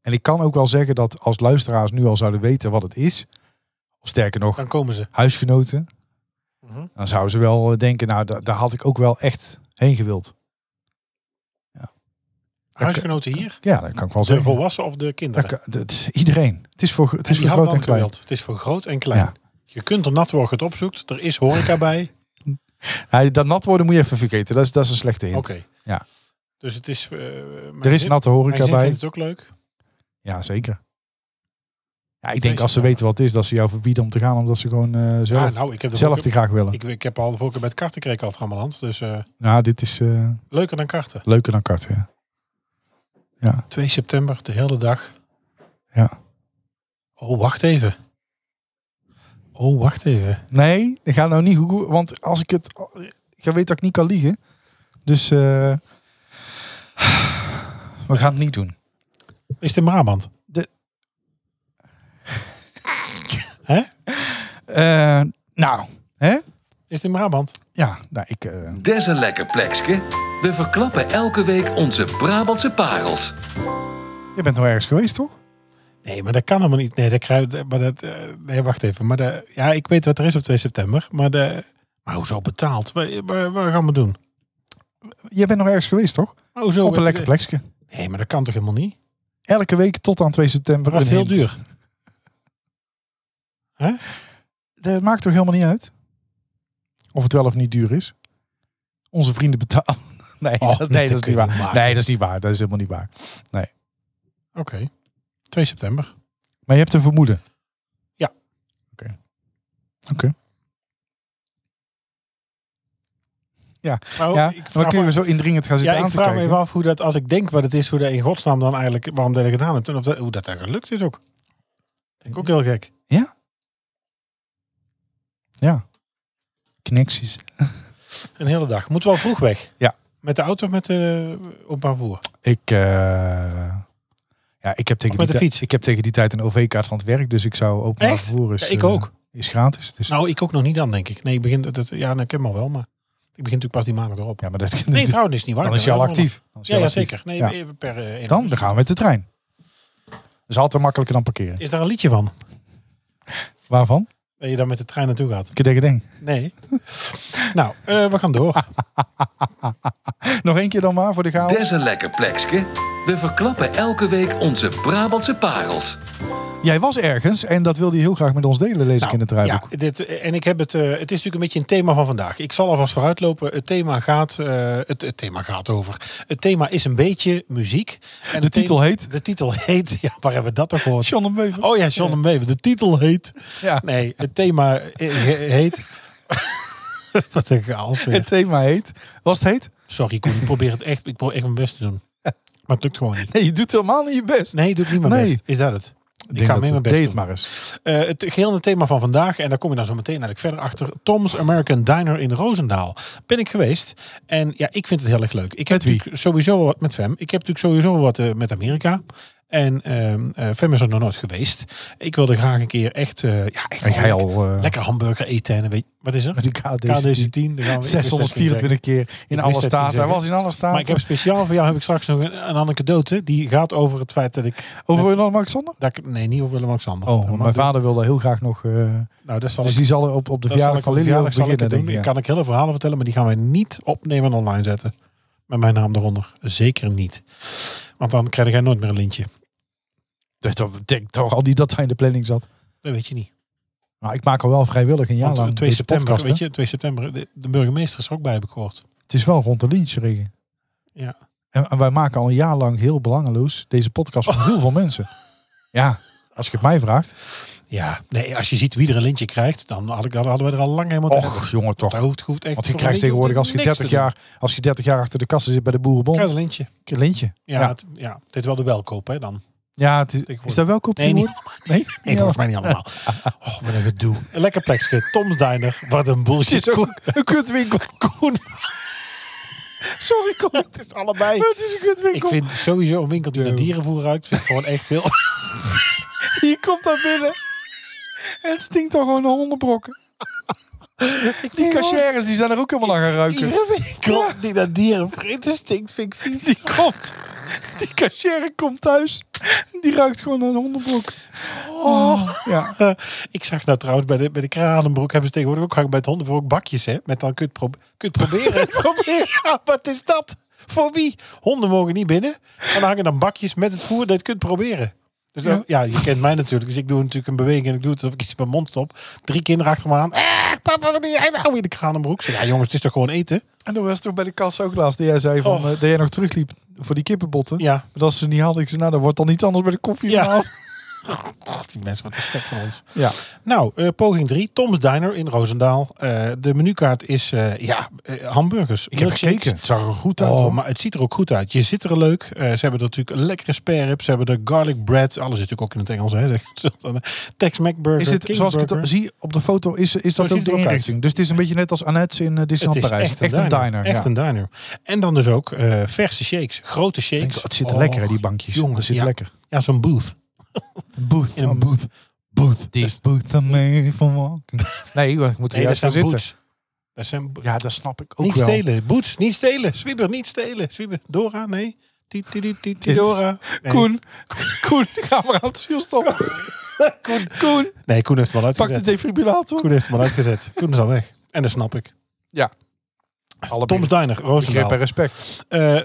[SPEAKER 2] En ik kan ook wel zeggen dat als luisteraars nu al zouden weten wat het is, of sterker nog,
[SPEAKER 3] Dan komen ze.
[SPEAKER 2] huisgenoten,
[SPEAKER 3] Mhm.
[SPEAKER 2] dan zouden ze wel eh, denken, nou, da- daar had ik ook wel echt heen gewild.
[SPEAKER 3] Huisgenoten hier?
[SPEAKER 2] Ja, dat kan ik wel
[SPEAKER 3] De
[SPEAKER 2] zeggen.
[SPEAKER 3] volwassen of de
[SPEAKER 2] Dat,
[SPEAKER 3] kinderen?
[SPEAKER 2] kan- dat is iedereen. Het is voor, het is
[SPEAKER 3] die
[SPEAKER 2] voor
[SPEAKER 3] hadden
[SPEAKER 2] groot en
[SPEAKER 3] al
[SPEAKER 2] klein.
[SPEAKER 3] gewild. Het is voor groot en klein.
[SPEAKER 2] Ja.
[SPEAKER 3] Je kunt er nat worden, het opzoekt. Er is horeca bij.
[SPEAKER 2] Hij, dat nat worden moet je even vergeten. Dat is, dat is een slechte hint.
[SPEAKER 3] Oké.
[SPEAKER 2] Ja.
[SPEAKER 3] Dus het is... eh, mijn
[SPEAKER 2] Er is
[SPEAKER 3] zin-
[SPEAKER 2] natte
[SPEAKER 3] mijn
[SPEAKER 2] horeca
[SPEAKER 3] zin
[SPEAKER 2] bij.
[SPEAKER 3] vindt het ook leuk.
[SPEAKER 2] Ja, zeker. Ja, ik
[SPEAKER 3] Twee
[SPEAKER 2] denk als ze
[SPEAKER 3] september.
[SPEAKER 2] weten wat het is, dat ze jou verbieden om te gaan, omdat ze gewoon eh, zelf,
[SPEAKER 3] Ah, nou, ik heb de
[SPEAKER 2] zelf
[SPEAKER 3] vorige-
[SPEAKER 2] die graag willen.
[SPEAKER 3] ik, ik heb al de vorige keer met karten gekregen al Rammeland. Dus eh,
[SPEAKER 2] Nou, dit is eh,
[SPEAKER 3] leuker dan karten.
[SPEAKER 2] leuker dan karten. ja.
[SPEAKER 3] 2 september, de hele dag.
[SPEAKER 2] Ja.
[SPEAKER 3] Oh, wacht even. Oh, wacht even.
[SPEAKER 2] Nee, ik ga nou niet goed, want als ik het, ik weet dat ik niet kan liegen. Dus eh, we gaan het niet doen.
[SPEAKER 3] Is het in Brabant?
[SPEAKER 2] Eh, nou,
[SPEAKER 3] Is het in Brabant?
[SPEAKER 2] ja, nou, ik, eh,
[SPEAKER 1] Des een lekker plekske. We verklappen elke week onze Brabantse parels.
[SPEAKER 2] je bent nog ergens geweest, toch?
[SPEAKER 3] Nee, maar dat kan helemaal niet. Nee, dat kruid, maar dat, eh, nee wacht even. Maar de, ja, ik weet wat er is op 2 september. Maar, de, maar hoezo betaald? Waar, waar, waar gaan we doen?
[SPEAKER 2] Je bent nog ergens geweest, toch?
[SPEAKER 3] Maar hoezo?
[SPEAKER 2] Op een lekker plekje.
[SPEAKER 3] Nee, maar dat kan toch helemaal niet?
[SPEAKER 2] Elke week tot aan 2 september.
[SPEAKER 3] Maar was het
[SPEAKER 2] een
[SPEAKER 3] heel
[SPEAKER 2] hint.
[SPEAKER 3] duur? Hè?
[SPEAKER 2] Dat maakt toch helemaal niet uit? Of het wel of niet duur is? Onze vrienden betalen. Nee, dat,
[SPEAKER 3] Oh, nee,
[SPEAKER 2] nee, dat
[SPEAKER 3] dat
[SPEAKER 2] is niet
[SPEAKER 3] kun je
[SPEAKER 2] waar.
[SPEAKER 3] niet maken.
[SPEAKER 2] nee, dat is niet waar. Dat is helemaal niet waar.
[SPEAKER 3] Oké. 2 september.
[SPEAKER 2] Maar je hebt een vermoeden.
[SPEAKER 3] Ja.
[SPEAKER 2] Oké. Oké.
[SPEAKER 3] Maar
[SPEAKER 2] ja,
[SPEAKER 3] Oh, ik
[SPEAKER 2] dan
[SPEAKER 3] vraag,
[SPEAKER 2] kun je
[SPEAKER 3] me,
[SPEAKER 2] zo indringend gaan
[SPEAKER 3] ja,
[SPEAKER 2] zitten
[SPEAKER 3] ik
[SPEAKER 2] aan te
[SPEAKER 3] vraag me
[SPEAKER 2] kijken.
[SPEAKER 3] even af hoe dat, als ik denk wat het is, hoe dat in godsnaam dan eigenlijk, waarom dat ik het gedaan heb. En of dat, hoe dat, dat gelukt is ook. Vind ik ook heel gek.
[SPEAKER 2] Connecties.
[SPEAKER 3] Een hele dag. Moet wel vroeg weg.
[SPEAKER 2] Ja.
[SPEAKER 3] Met de auto of met de openbaar voer?
[SPEAKER 2] Ik, eh, ja, ik, heb tegen
[SPEAKER 3] met
[SPEAKER 2] die
[SPEAKER 3] de
[SPEAKER 2] ti-
[SPEAKER 3] fiets.
[SPEAKER 2] ik heb tegen die tijd een OV-kaart van het werk, dus ik zou openbaar
[SPEAKER 3] Echt?
[SPEAKER 2] vervoer is,
[SPEAKER 3] Ja, ik
[SPEAKER 2] eh,
[SPEAKER 3] ook.
[SPEAKER 2] is gratis. Dus,
[SPEAKER 3] Nou, ik ook nog niet dan, denk ik. Nee, ik begin, dat, ja, nou, ik heb hem al wel, maar ik begin natuurlijk pas die maandag erop.
[SPEAKER 2] ja, maar dat,
[SPEAKER 3] Nee, trouwens, is niet waar.
[SPEAKER 2] dan
[SPEAKER 3] Ik
[SPEAKER 2] is je
[SPEAKER 3] ben
[SPEAKER 2] al
[SPEAKER 3] wel helemaal-
[SPEAKER 2] actief. Dan is je
[SPEAKER 3] Ja,
[SPEAKER 2] al
[SPEAKER 3] ja,
[SPEAKER 2] actief.
[SPEAKER 3] zeker. Nee,
[SPEAKER 2] Ja.
[SPEAKER 3] even per eh,
[SPEAKER 2] Dan, dan gaan we met de trein. Dat is altijd makkelijker dan parkeren.
[SPEAKER 3] Is daar een liedje van?
[SPEAKER 2] Waarvan?
[SPEAKER 3] Dat je dan met de trein naartoe gaat?
[SPEAKER 2] Kedegedeng.
[SPEAKER 3] Nee. nou, eh, we gaan
[SPEAKER 2] Ah,
[SPEAKER 3] door.
[SPEAKER 2] Nog één keer dan maar voor de chaos.
[SPEAKER 1] Des een lekker plekske. We verklappen elke week onze Brabantse parels.
[SPEAKER 2] Jij was ergens en dat wilde je heel graag met ons delen, lees ik in het
[SPEAKER 3] Nou,
[SPEAKER 2] draaiboek.
[SPEAKER 3] Ja, dit, eh, en ik heb het, eh, het is natuurlijk een beetje een thema van vandaag. Ik zal alvast vooruitlopen. Het thema gaat, eh, het, het thema gaat over. Het thema is een beetje muziek. En
[SPEAKER 2] De
[SPEAKER 3] het thema-
[SPEAKER 2] titel heet?
[SPEAKER 3] De titel heet. Ja, waar hebben we dat toch gehoord?
[SPEAKER 2] John en Bever.
[SPEAKER 3] Oh ja, John en Maeve. De titel heet.
[SPEAKER 2] Ja.
[SPEAKER 3] Nee, het thema eh, he- heet. Wat denk ik als
[SPEAKER 2] Het thema heet... Was het heet?
[SPEAKER 3] Sorry, Koen, ik probeer het echt. Ik probeer echt mijn best te doen. Maar het lukt gewoon niet.
[SPEAKER 2] Nee, je doet helemaal niet je best.
[SPEAKER 3] Nee, doe ik niet mijn
[SPEAKER 2] Nee.
[SPEAKER 3] best. Is dat het?
[SPEAKER 2] Ik
[SPEAKER 3] Ik ga mee mijn best
[SPEAKER 2] Deed
[SPEAKER 3] doen.
[SPEAKER 2] het maar eens.
[SPEAKER 3] Eh, het geheel het thema van vandaag, en daar kom je dan zo meteen eigenlijk verder achter. Tom's American Diner in Roosendaal. Ben ik geweest. En ja, ik vind het heel erg leuk. Ik heb
[SPEAKER 2] Met wie?
[SPEAKER 3] natuurlijk sowieso wel wat met Fem. Ik heb natuurlijk sowieso wel wat eh, met Amerika. En ehm eh Fem is er nog nooit geweest. Ik wilde graag een keer echt, eh, ja, echt
[SPEAKER 2] En jij
[SPEAKER 3] wel
[SPEAKER 2] al eh,
[SPEAKER 3] lekker hamburger eten. En weet, wat is er?
[SPEAKER 2] met die KDC.
[SPEAKER 3] KDC-10. daar gaan we- ik wist dat niet
[SPEAKER 2] 624 keer in
[SPEAKER 3] wist
[SPEAKER 2] alle
[SPEAKER 3] dat niet
[SPEAKER 2] staten. Hij
[SPEAKER 3] zeggen.
[SPEAKER 2] was in alle
[SPEAKER 3] Maar
[SPEAKER 2] staten.
[SPEAKER 3] ik heb speciaal voor jou heb ik straks nog een, een anekdote. Die gaat over het feit dat ik...
[SPEAKER 2] Over
[SPEAKER 3] met-
[SPEAKER 2] Willem-Alexander?
[SPEAKER 3] dat ik- nee, niet over
[SPEAKER 2] Oh,
[SPEAKER 3] Willem-Alexander. Dat
[SPEAKER 2] want
[SPEAKER 3] mag-
[SPEAKER 2] mijn vader wilde heel graag nog... eh,
[SPEAKER 3] Nou, dat zal
[SPEAKER 2] dus
[SPEAKER 3] ik,
[SPEAKER 2] die zal er op, op de
[SPEAKER 3] dat zal
[SPEAKER 2] verjaardag
[SPEAKER 3] ik
[SPEAKER 2] van
[SPEAKER 3] op de
[SPEAKER 2] Lily ook
[SPEAKER 3] verjaardag zal ik
[SPEAKER 2] beginnen,
[SPEAKER 3] het doen.
[SPEAKER 2] denk ik.
[SPEAKER 3] Ik
[SPEAKER 2] ja.
[SPEAKER 3] kan ik hele verhalen vertellen, maar die gaan wij niet opnemen en online zetten. Met mijn naam eronder. Zeker niet. Want dan krijg jij nooit meer een lintje.
[SPEAKER 2] Dus dat- denk toch al niet dat hij in de planning zat.
[SPEAKER 3] Dat weet je niet.
[SPEAKER 2] Maar ik maak al wel vrijwillig een jaar
[SPEAKER 3] Want
[SPEAKER 2] lang
[SPEAKER 3] 2
[SPEAKER 2] deze
[SPEAKER 3] september,
[SPEAKER 2] podcast. hè.
[SPEAKER 3] weet je, 2 september, de, de burgemeester is er ook bij, heb ik gehoord.
[SPEAKER 2] Het is wel rond de lynchring.
[SPEAKER 3] Ja.
[SPEAKER 2] En, en wij maken al een jaar lang heel belangeloos deze podcast voor heel veel mensen. Ja, als je het mij vraagt.
[SPEAKER 3] Ja, nee, als je ziet wie er een lintje krijgt, dan had ik, hadden we er al lang helemaal
[SPEAKER 2] Och, jongen toch.
[SPEAKER 3] Daar hoeft, hoeft echt
[SPEAKER 2] Want je
[SPEAKER 3] voor
[SPEAKER 2] krijgt
[SPEAKER 3] een lintje hoeft
[SPEAKER 2] tegenwoordig als je
[SPEAKER 3] niks te
[SPEAKER 2] 30
[SPEAKER 3] doen.
[SPEAKER 2] jaar, als je 30 jaar achter de kassen zit bij de
[SPEAKER 3] Krijg
[SPEAKER 2] boerenbond.
[SPEAKER 3] een lintje.
[SPEAKER 2] Een lintje.
[SPEAKER 3] Ja,
[SPEAKER 2] Ja.
[SPEAKER 3] Het, ja, dit is wel de welkoop, hè, dan.
[SPEAKER 2] Ja, het is,
[SPEAKER 3] Tegenwoordig.
[SPEAKER 2] is dat wel koop
[SPEAKER 3] Nee, niet
[SPEAKER 2] Nee,
[SPEAKER 3] Nee, volgens mij niet allemaal. Oh, wat een gedoe. Een lekker plekje. Tom's Diner. Wat een bullshit.
[SPEAKER 2] Het is ook een kutwinkel.
[SPEAKER 3] Koen.
[SPEAKER 2] Sorry, kom.
[SPEAKER 3] Het is allebei.
[SPEAKER 2] Het is een
[SPEAKER 3] Ik
[SPEAKER 2] kutwinkel.
[SPEAKER 3] vind sowieso een winkel die naar dierenvoer ruikt, vind ik gewoon echt heel...
[SPEAKER 2] Je komt daar binnen. En het stinkt toch gewoon naar hondenbrokken. Die
[SPEAKER 3] denk wel-
[SPEAKER 2] cashiers die zijn er ook helemaal aan gaan ruiken.
[SPEAKER 3] Iedere winkel die naar dieren vreten stinkt, vind ik vies.
[SPEAKER 2] Die komt. Die cashier komt thuis. Die ruikt gewoon naar een hondenbrok. Oh. Ja.
[SPEAKER 3] Eh, ik zag nou trouwens, bij de, bij de Kranenbroek hebben ze tegenwoordig ook hangen bij het hondenvoer ook bakjes, hè. Met dan kun je het, pro- kun je het proberen. Probeer. Ja, wat is dat? Voor wie? Honden mogen niet binnen. En dan hangen dan bakjes met het voer dat je het kunt proberen. Dus dan- ja. je kent mij natuurlijk. Dus ik doe natuurlijk een beweging en ik doe het alsof ik iets in mijn mond stop. Drie kinderen achter me aan. Eh, papa, wat doe jij nou in de Kranenbroek? Ik Zeg, ja jongens, het is toch gewoon eten?
[SPEAKER 2] En dan was het toch bij de kassa ook laatst. Dat jij zei van,
[SPEAKER 3] Oh.
[SPEAKER 2] eh, dat jij nog terugliep voor die kippenbotten.
[SPEAKER 3] Ja.
[SPEAKER 2] Maar dat ze niet hadden. Ik zei, nou, dan wordt dan iets anders bij de koffie
[SPEAKER 3] Ja.
[SPEAKER 2] gehaald.
[SPEAKER 3] Ach, die mensen, wat een gek van ons.
[SPEAKER 2] Ja.
[SPEAKER 3] Nou, eh, poging 3. Tom's Diner in Roosendaal. Eh, de menukaart is, eh, ja, eh, hamburgers.
[SPEAKER 2] Ik heb
[SPEAKER 3] milkshakes.
[SPEAKER 2] gekeken. Het zag er goed uit.
[SPEAKER 3] Oh,
[SPEAKER 2] hoor.
[SPEAKER 3] maar het ziet er ook goed uit. Je zit er leuk. Eh, ze hebben er natuurlijk een lekkere spare ribs. Ze hebben de garlic bread. Alles zit natuurlijk ook in het Engels. Hè. Tex-Mac eh, burger.
[SPEAKER 2] Is dit,
[SPEAKER 3] King
[SPEAKER 2] zoals ik het
[SPEAKER 3] burger.
[SPEAKER 2] zie op de foto, is, is dat
[SPEAKER 3] ziet
[SPEAKER 2] ook
[SPEAKER 3] het er
[SPEAKER 2] de
[SPEAKER 3] ook uit.
[SPEAKER 2] inrichting. Dus het is een beetje net als Annette in eh,
[SPEAKER 3] Het
[SPEAKER 2] Disneyland
[SPEAKER 3] is
[SPEAKER 2] Parijs.
[SPEAKER 3] echt een diner. Echt
[SPEAKER 2] ja.
[SPEAKER 3] een diner. En dan dus ook eh, verse shakes. Grote
[SPEAKER 2] Ik
[SPEAKER 3] shakes.
[SPEAKER 2] denk, het zit
[SPEAKER 3] Oh,
[SPEAKER 2] lekker, hè, die bankjes.
[SPEAKER 3] jongens,
[SPEAKER 2] het zit
[SPEAKER 3] ja.
[SPEAKER 2] lekker.
[SPEAKER 3] Ja, zo'n booth.
[SPEAKER 2] Booth.
[SPEAKER 3] In een
[SPEAKER 2] booth. Booth. Die booth aan mij van walking. Nee, ik moet er
[SPEAKER 3] Nee, dat
[SPEAKER 2] juist gaan
[SPEAKER 3] zijn
[SPEAKER 2] zitten.
[SPEAKER 3] boots. Dat zijn bo-
[SPEAKER 2] Ja, dat snap ik ook
[SPEAKER 3] niet
[SPEAKER 2] wel.
[SPEAKER 3] stelen. Boots, niet stelen. Swieber, niet stelen. Swieber. Dora, nee. Ti- ti- ti- ti- ti-
[SPEAKER 2] Dit-
[SPEAKER 3] Dora. Nee.
[SPEAKER 2] Koen, Koen, ga maar aan het ziel stoppen. Koen, Koen,
[SPEAKER 3] Nee, Koen heeft hem al
[SPEAKER 2] pak de
[SPEAKER 3] uitgezet.
[SPEAKER 2] defibrillator.
[SPEAKER 3] Koen heeft hem al uitgezet. Koen is al weg. En dat snap ik. Tom's Diner,
[SPEAKER 2] begrip
[SPEAKER 3] Roosendaal.
[SPEAKER 2] en respect.
[SPEAKER 3] eh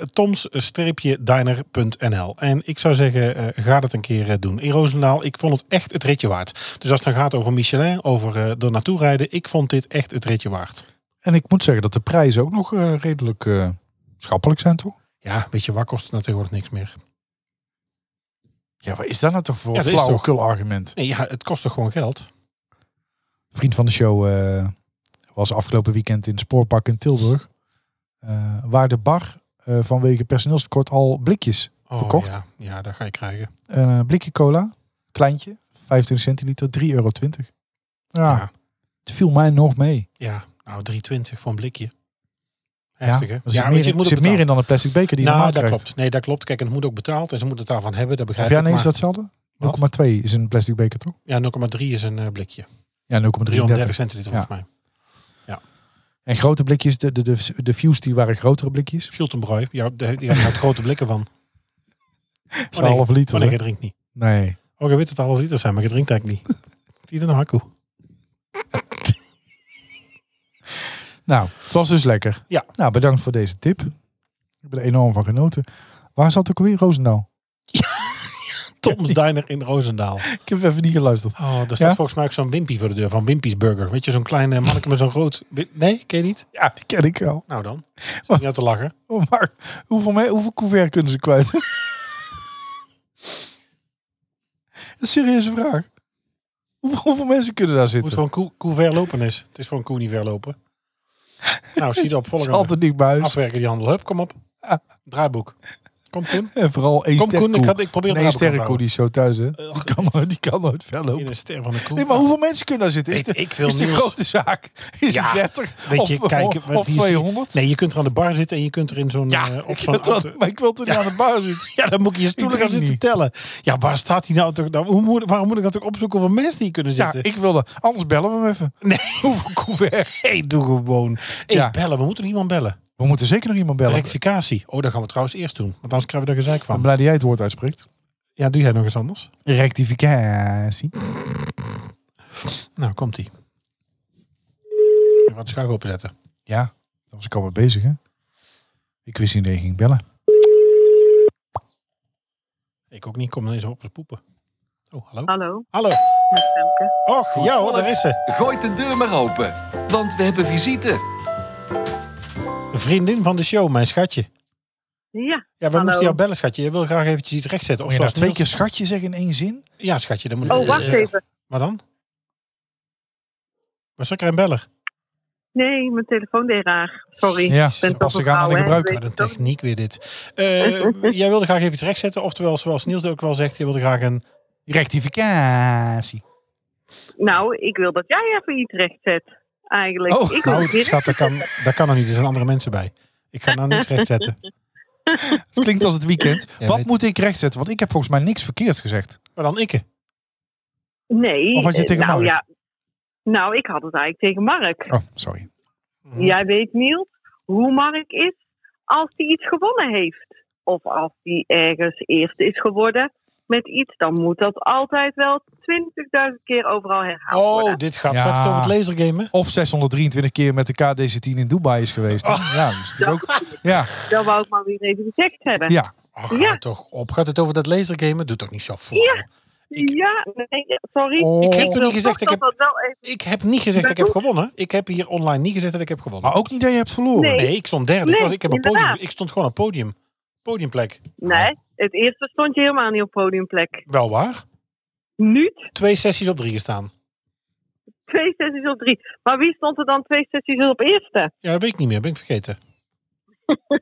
[SPEAKER 3] toms-diner.nl. En ik zou zeggen, eh, ga dat een keer eh, doen. In Roosendaal, ik vond het echt het ritje waard. Dus als het dan gaat over Michelin, over eh er naartoe rijden, ik vond dit echt het ritje waard.
[SPEAKER 2] En ik moet zeggen dat de prijzen ook nog eh, redelijk eh, schappelijk zijn, toch?
[SPEAKER 3] Ja, weet je, waar kost het nou tegenwoordig niks meer?
[SPEAKER 2] Ja, wat is dat nou toch voor
[SPEAKER 3] Ja,
[SPEAKER 2] een
[SPEAKER 3] dat is toch-
[SPEAKER 2] flauwekul argument?
[SPEAKER 3] Nee, ja, het kost toch gewoon geld?
[SPEAKER 2] Vriend van de show eh, was afgelopen weekend in het Spoorpark in Tilburg. eh, waar de bar eh, vanwege personeelstekort al blikjes.
[SPEAKER 3] Oh,
[SPEAKER 2] Verkocht?
[SPEAKER 3] Ja, ja, dat ga je krijgen.
[SPEAKER 2] Een eh, blikje cola, kleintje, 25 centiliter, 3,20 euro. Ja,
[SPEAKER 3] Ja.
[SPEAKER 2] het viel mij nog mee.
[SPEAKER 3] Ja, nou 3,20 voor een blikje.
[SPEAKER 2] ja,
[SPEAKER 3] Heftig, hè?
[SPEAKER 2] er zit,
[SPEAKER 3] weet je,
[SPEAKER 2] meer,
[SPEAKER 3] het
[SPEAKER 2] in, er
[SPEAKER 3] moet ook
[SPEAKER 2] zit meer
[SPEAKER 3] betaald.
[SPEAKER 2] in dan een plastic beker die je
[SPEAKER 3] Nou,
[SPEAKER 2] normaal
[SPEAKER 3] dat
[SPEAKER 2] krijgt.
[SPEAKER 3] klopt. Nee, dat klopt. Kijk, en het moet ook betaald en ze moeten het daarvan hebben. Dat
[SPEAKER 2] Of
[SPEAKER 3] begrijp
[SPEAKER 2] ja,
[SPEAKER 3] ik.
[SPEAKER 2] nee, is
[SPEAKER 3] maar-
[SPEAKER 2] dat hetzelfde?
[SPEAKER 3] Wat?
[SPEAKER 2] 0,2 is een plastic beker, toch?
[SPEAKER 3] Ja, 0,3 is een eh, blikje.
[SPEAKER 2] Ja,
[SPEAKER 3] 330
[SPEAKER 2] 0,33.
[SPEAKER 3] centiliter volgens mij.
[SPEAKER 2] En grote blikjes, de, de, de, de views die waren grotere
[SPEAKER 3] Oh,
[SPEAKER 2] blikjes.
[SPEAKER 3] Schultenbrooi, die houdt die houdt grote blikken van.
[SPEAKER 2] Dat is een half liter.
[SPEAKER 3] Maar nee,
[SPEAKER 2] hè?
[SPEAKER 3] je drinkt niet.
[SPEAKER 2] Nee.
[SPEAKER 3] Oh, je weet dat het half liter zijn, maar je drinkt eigenlijk niet. Die dan een hakkoe.
[SPEAKER 2] Nou, het was dus lekker.
[SPEAKER 3] Ja.
[SPEAKER 2] Nou, bedankt voor deze tip. Ik ben er enorm van genoten. Waar zat ook weer Roosendaal?
[SPEAKER 3] Tom's Diner in Roosendaal.
[SPEAKER 2] Ik heb even niet geluisterd.
[SPEAKER 3] Oh, daar staat
[SPEAKER 2] Ja?
[SPEAKER 3] volgens mij ook zo'n wimpy voor de deur van Wimpy's Burger. Weet je, zo'n kleine manneke met zo'n rood... wi- Nee, ken je niet?
[SPEAKER 2] Ja, die ken ik wel.
[SPEAKER 3] Nou dan. Zit Niet aan te lachen.
[SPEAKER 2] Oh, maar hoeveel, me- hoeveel couvert kunnen ze kwijt? een serieuze vraag. Hoeveel, hoeveel mensen kunnen daar
[SPEAKER 3] Moet
[SPEAKER 2] zitten?
[SPEAKER 3] voor een koe, koe ver lopen is. Het is voor een koe niet ver lopen. Nou, schiet op,
[SPEAKER 2] Het is
[SPEAKER 3] volgende.
[SPEAKER 2] altijd niet bij huis.
[SPEAKER 3] Afwerken die handel. Hup, kom op. Draaiboek. Komt Koen?
[SPEAKER 2] En vooral één
[SPEAKER 3] Kom Koen, ik,
[SPEAKER 2] sterrenkoe.
[SPEAKER 3] had, ik probeer
[SPEAKER 2] Nee,
[SPEAKER 3] het
[SPEAKER 2] één
[SPEAKER 3] raad op
[SPEAKER 2] sterrenkoe
[SPEAKER 3] te
[SPEAKER 2] die is zo thuis, hè.
[SPEAKER 3] houden.
[SPEAKER 2] Die kan, nooit- die kan nooit ver
[SPEAKER 3] In
[SPEAKER 2] lopen.
[SPEAKER 3] een ster van de koe.
[SPEAKER 2] Nee, maar hoeveel mensen kunnen daar zitten? Is
[SPEAKER 3] Weet
[SPEAKER 2] de,
[SPEAKER 3] ik veel,
[SPEAKER 2] is de
[SPEAKER 3] Niels.
[SPEAKER 2] grote zaak? Is
[SPEAKER 3] Ja,
[SPEAKER 2] het 30?
[SPEAKER 3] Weet je,
[SPEAKER 2] of,
[SPEAKER 3] kijk,
[SPEAKER 2] of,
[SPEAKER 3] wat
[SPEAKER 2] of
[SPEAKER 3] die-
[SPEAKER 2] 200?
[SPEAKER 3] Nee, je kunt er aan de bar zitten en je kunt er in zo'n...
[SPEAKER 2] ja,
[SPEAKER 3] eh, op
[SPEAKER 2] ik
[SPEAKER 3] zo'n
[SPEAKER 2] wil het wel-
[SPEAKER 3] auto-
[SPEAKER 2] maar ik wil toen
[SPEAKER 3] Ja.
[SPEAKER 2] aan de bar zitten.
[SPEAKER 3] Ja, dan moet je je stoelen gaan
[SPEAKER 2] drink
[SPEAKER 3] zitten
[SPEAKER 2] niet.
[SPEAKER 3] tellen. Ja, waar staat hij nou toch? Nou, hoe moet, waarom moet ik dat ook opzoeken hoeveel mensen die kunnen
[SPEAKER 2] Ja,
[SPEAKER 3] zitten?
[SPEAKER 2] ik wilde. Anders bellen we hem even.
[SPEAKER 3] Nee.
[SPEAKER 2] Hoeveel couvert?
[SPEAKER 3] Hey, doe gewoon. Hey,
[SPEAKER 2] Ja.
[SPEAKER 3] bellen. We moeten iemand bellen.
[SPEAKER 2] We moeten zeker nog iemand bellen. Ik
[SPEAKER 3] Rectificatie. Oh, dat gaan we trouwens eerst doen. Want anders krijgen we er gezeik
[SPEAKER 2] ben
[SPEAKER 3] van.
[SPEAKER 2] blij dat jij het woord uitspreekt.
[SPEAKER 3] Ja, doe jij nog eens anders?
[SPEAKER 2] Rectificatie.
[SPEAKER 3] Nou, komt ie. Wat schuif openzetten.
[SPEAKER 2] Ja, daar was ik al mee bezig, hè. Ik wist niet dat je ging bellen.
[SPEAKER 3] Ik ook niet. Kom ineens op te poepen. Oh, hallo?
[SPEAKER 4] Hallo,
[SPEAKER 3] Hallo.
[SPEAKER 4] met Femke.
[SPEAKER 3] Och, ja hoor, daar is ze.
[SPEAKER 1] Gooi de deur maar open, want we hebben visite.
[SPEAKER 3] Een vriendin van de show, mijn schatje.
[SPEAKER 4] Ja,
[SPEAKER 3] Ja, we
[SPEAKER 4] Hallo.
[SPEAKER 3] moesten jou bellen, schatje. Je wil graag eventjes iets rechtzetten. Of
[SPEAKER 2] Moet je nou
[SPEAKER 3] zoals
[SPEAKER 2] twee keer
[SPEAKER 3] Niels-
[SPEAKER 2] schatje zeggen in één zin?
[SPEAKER 3] Ja, schatje. Dan moet Eh,
[SPEAKER 4] oh wacht even.
[SPEAKER 3] Wat dan? Was er een beller?
[SPEAKER 4] Nee, mijn telefoon deed raar. Sorry.
[SPEAKER 2] Ja,
[SPEAKER 4] Ik ben toch
[SPEAKER 2] pas
[SPEAKER 4] een
[SPEAKER 2] ik aan aan de
[SPEAKER 4] vrouw, hè,
[SPEAKER 2] gebruiker.
[SPEAKER 4] weet
[SPEAKER 3] Wat een
[SPEAKER 4] je toch?
[SPEAKER 3] techniek weer dit. Eh, jij wilde graag even iets rechtzetten. Oftewel, zoals Niels ook wel zegt, je wilde graag een...
[SPEAKER 2] Rectificatie.
[SPEAKER 4] Nou, ik wil dat jij even iets recht zet. Eigenlijk.
[SPEAKER 2] Oh,
[SPEAKER 4] ik wil
[SPEAKER 3] Nou,
[SPEAKER 4] het direct-
[SPEAKER 3] schat, dat kan, dat kan er niet. Er zijn andere mensen bij. Ik ga nou niks rechtzetten.
[SPEAKER 2] Het klinkt als het weekend.
[SPEAKER 3] Ja,
[SPEAKER 2] Wat
[SPEAKER 3] weet-
[SPEAKER 2] moet ik rechtzetten? Want ik heb volgens mij niks verkeerd gezegd.
[SPEAKER 3] Maar dan ikke.
[SPEAKER 4] Nee.
[SPEAKER 2] Of had je
[SPEAKER 4] eh,
[SPEAKER 2] tegen
[SPEAKER 4] nou,
[SPEAKER 2] Mark?
[SPEAKER 4] Ja, nou, ik had het eigenlijk tegen Mark.
[SPEAKER 2] Oh, sorry. Oh.
[SPEAKER 4] Jij weet, Niels, hoe Mark is als hij iets gewonnen heeft. Of als hij ergens eerst is geworden met iets, dan moet dat altijd wel 20.000 keer overal herhaald worden.
[SPEAKER 3] Oh, dit gaat
[SPEAKER 2] Ja.
[SPEAKER 3] gaat het over het lasergamen.
[SPEAKER 2] Of 623 keer met de KDC-10 in Dubai is geweest. hè? Ja, dat is natuurlijk ook... Ja,
[SPEAKER 4] Dat wou ik maar weer even gezegd hebben.
[SPEAKER 2] ja.
[SPEAKER 3] Ach,
[SPEAKER 4] Ja.
[SPEAKER 3] Oh, houd toch op. Gaat het over dat lasergamen? Doe toch niet zo flauw.
[SPEAKER 4] Ja. Ja, nee, sorry.
[SPEAKER 2] Oh. Ik kreeg
[SPEAKER 3] toen niet gezegd,
[SPEAKER 4] toch
[SPEAKER 3] ik
[SPEAKER 4] dat dat wel even-
[SPEAKER 3] Ik heb niet gezegd dat ik heb gewonnen. Ik heb hier online niet gezegd dat ik heb gewonnen.
[SPEAKER 2] Maar ook niet dat je hebt verloren.
[SPEAKER 4] Nee.
[SPEAKER 3] Nee, ik stond derde. ik,
[SPEAKER 4] Nee,
[SPEAKER 3] was, ik, heb een podium,
[SPEAKER 4] inderdaad.
[SPEAKER 3] ik stond gewoon op podium. Podiumplek.
[SPEAKER 4] Nee, het eerste stond je helemaal niet op podiumplek.
[SPEAKER 3] Wel waar.
[SPEAKER 4] Nu
[SPEAKER 3] Twee sessies op drie gestaan.
[SPEAKER 4] twee sessies op drie. Maar wie stond er dan twee sessies op eerste?
[SPEAKER 3] Ja, dat weet ik niet meer. Ben ik vergeten.
[SPEAKER 2] Maar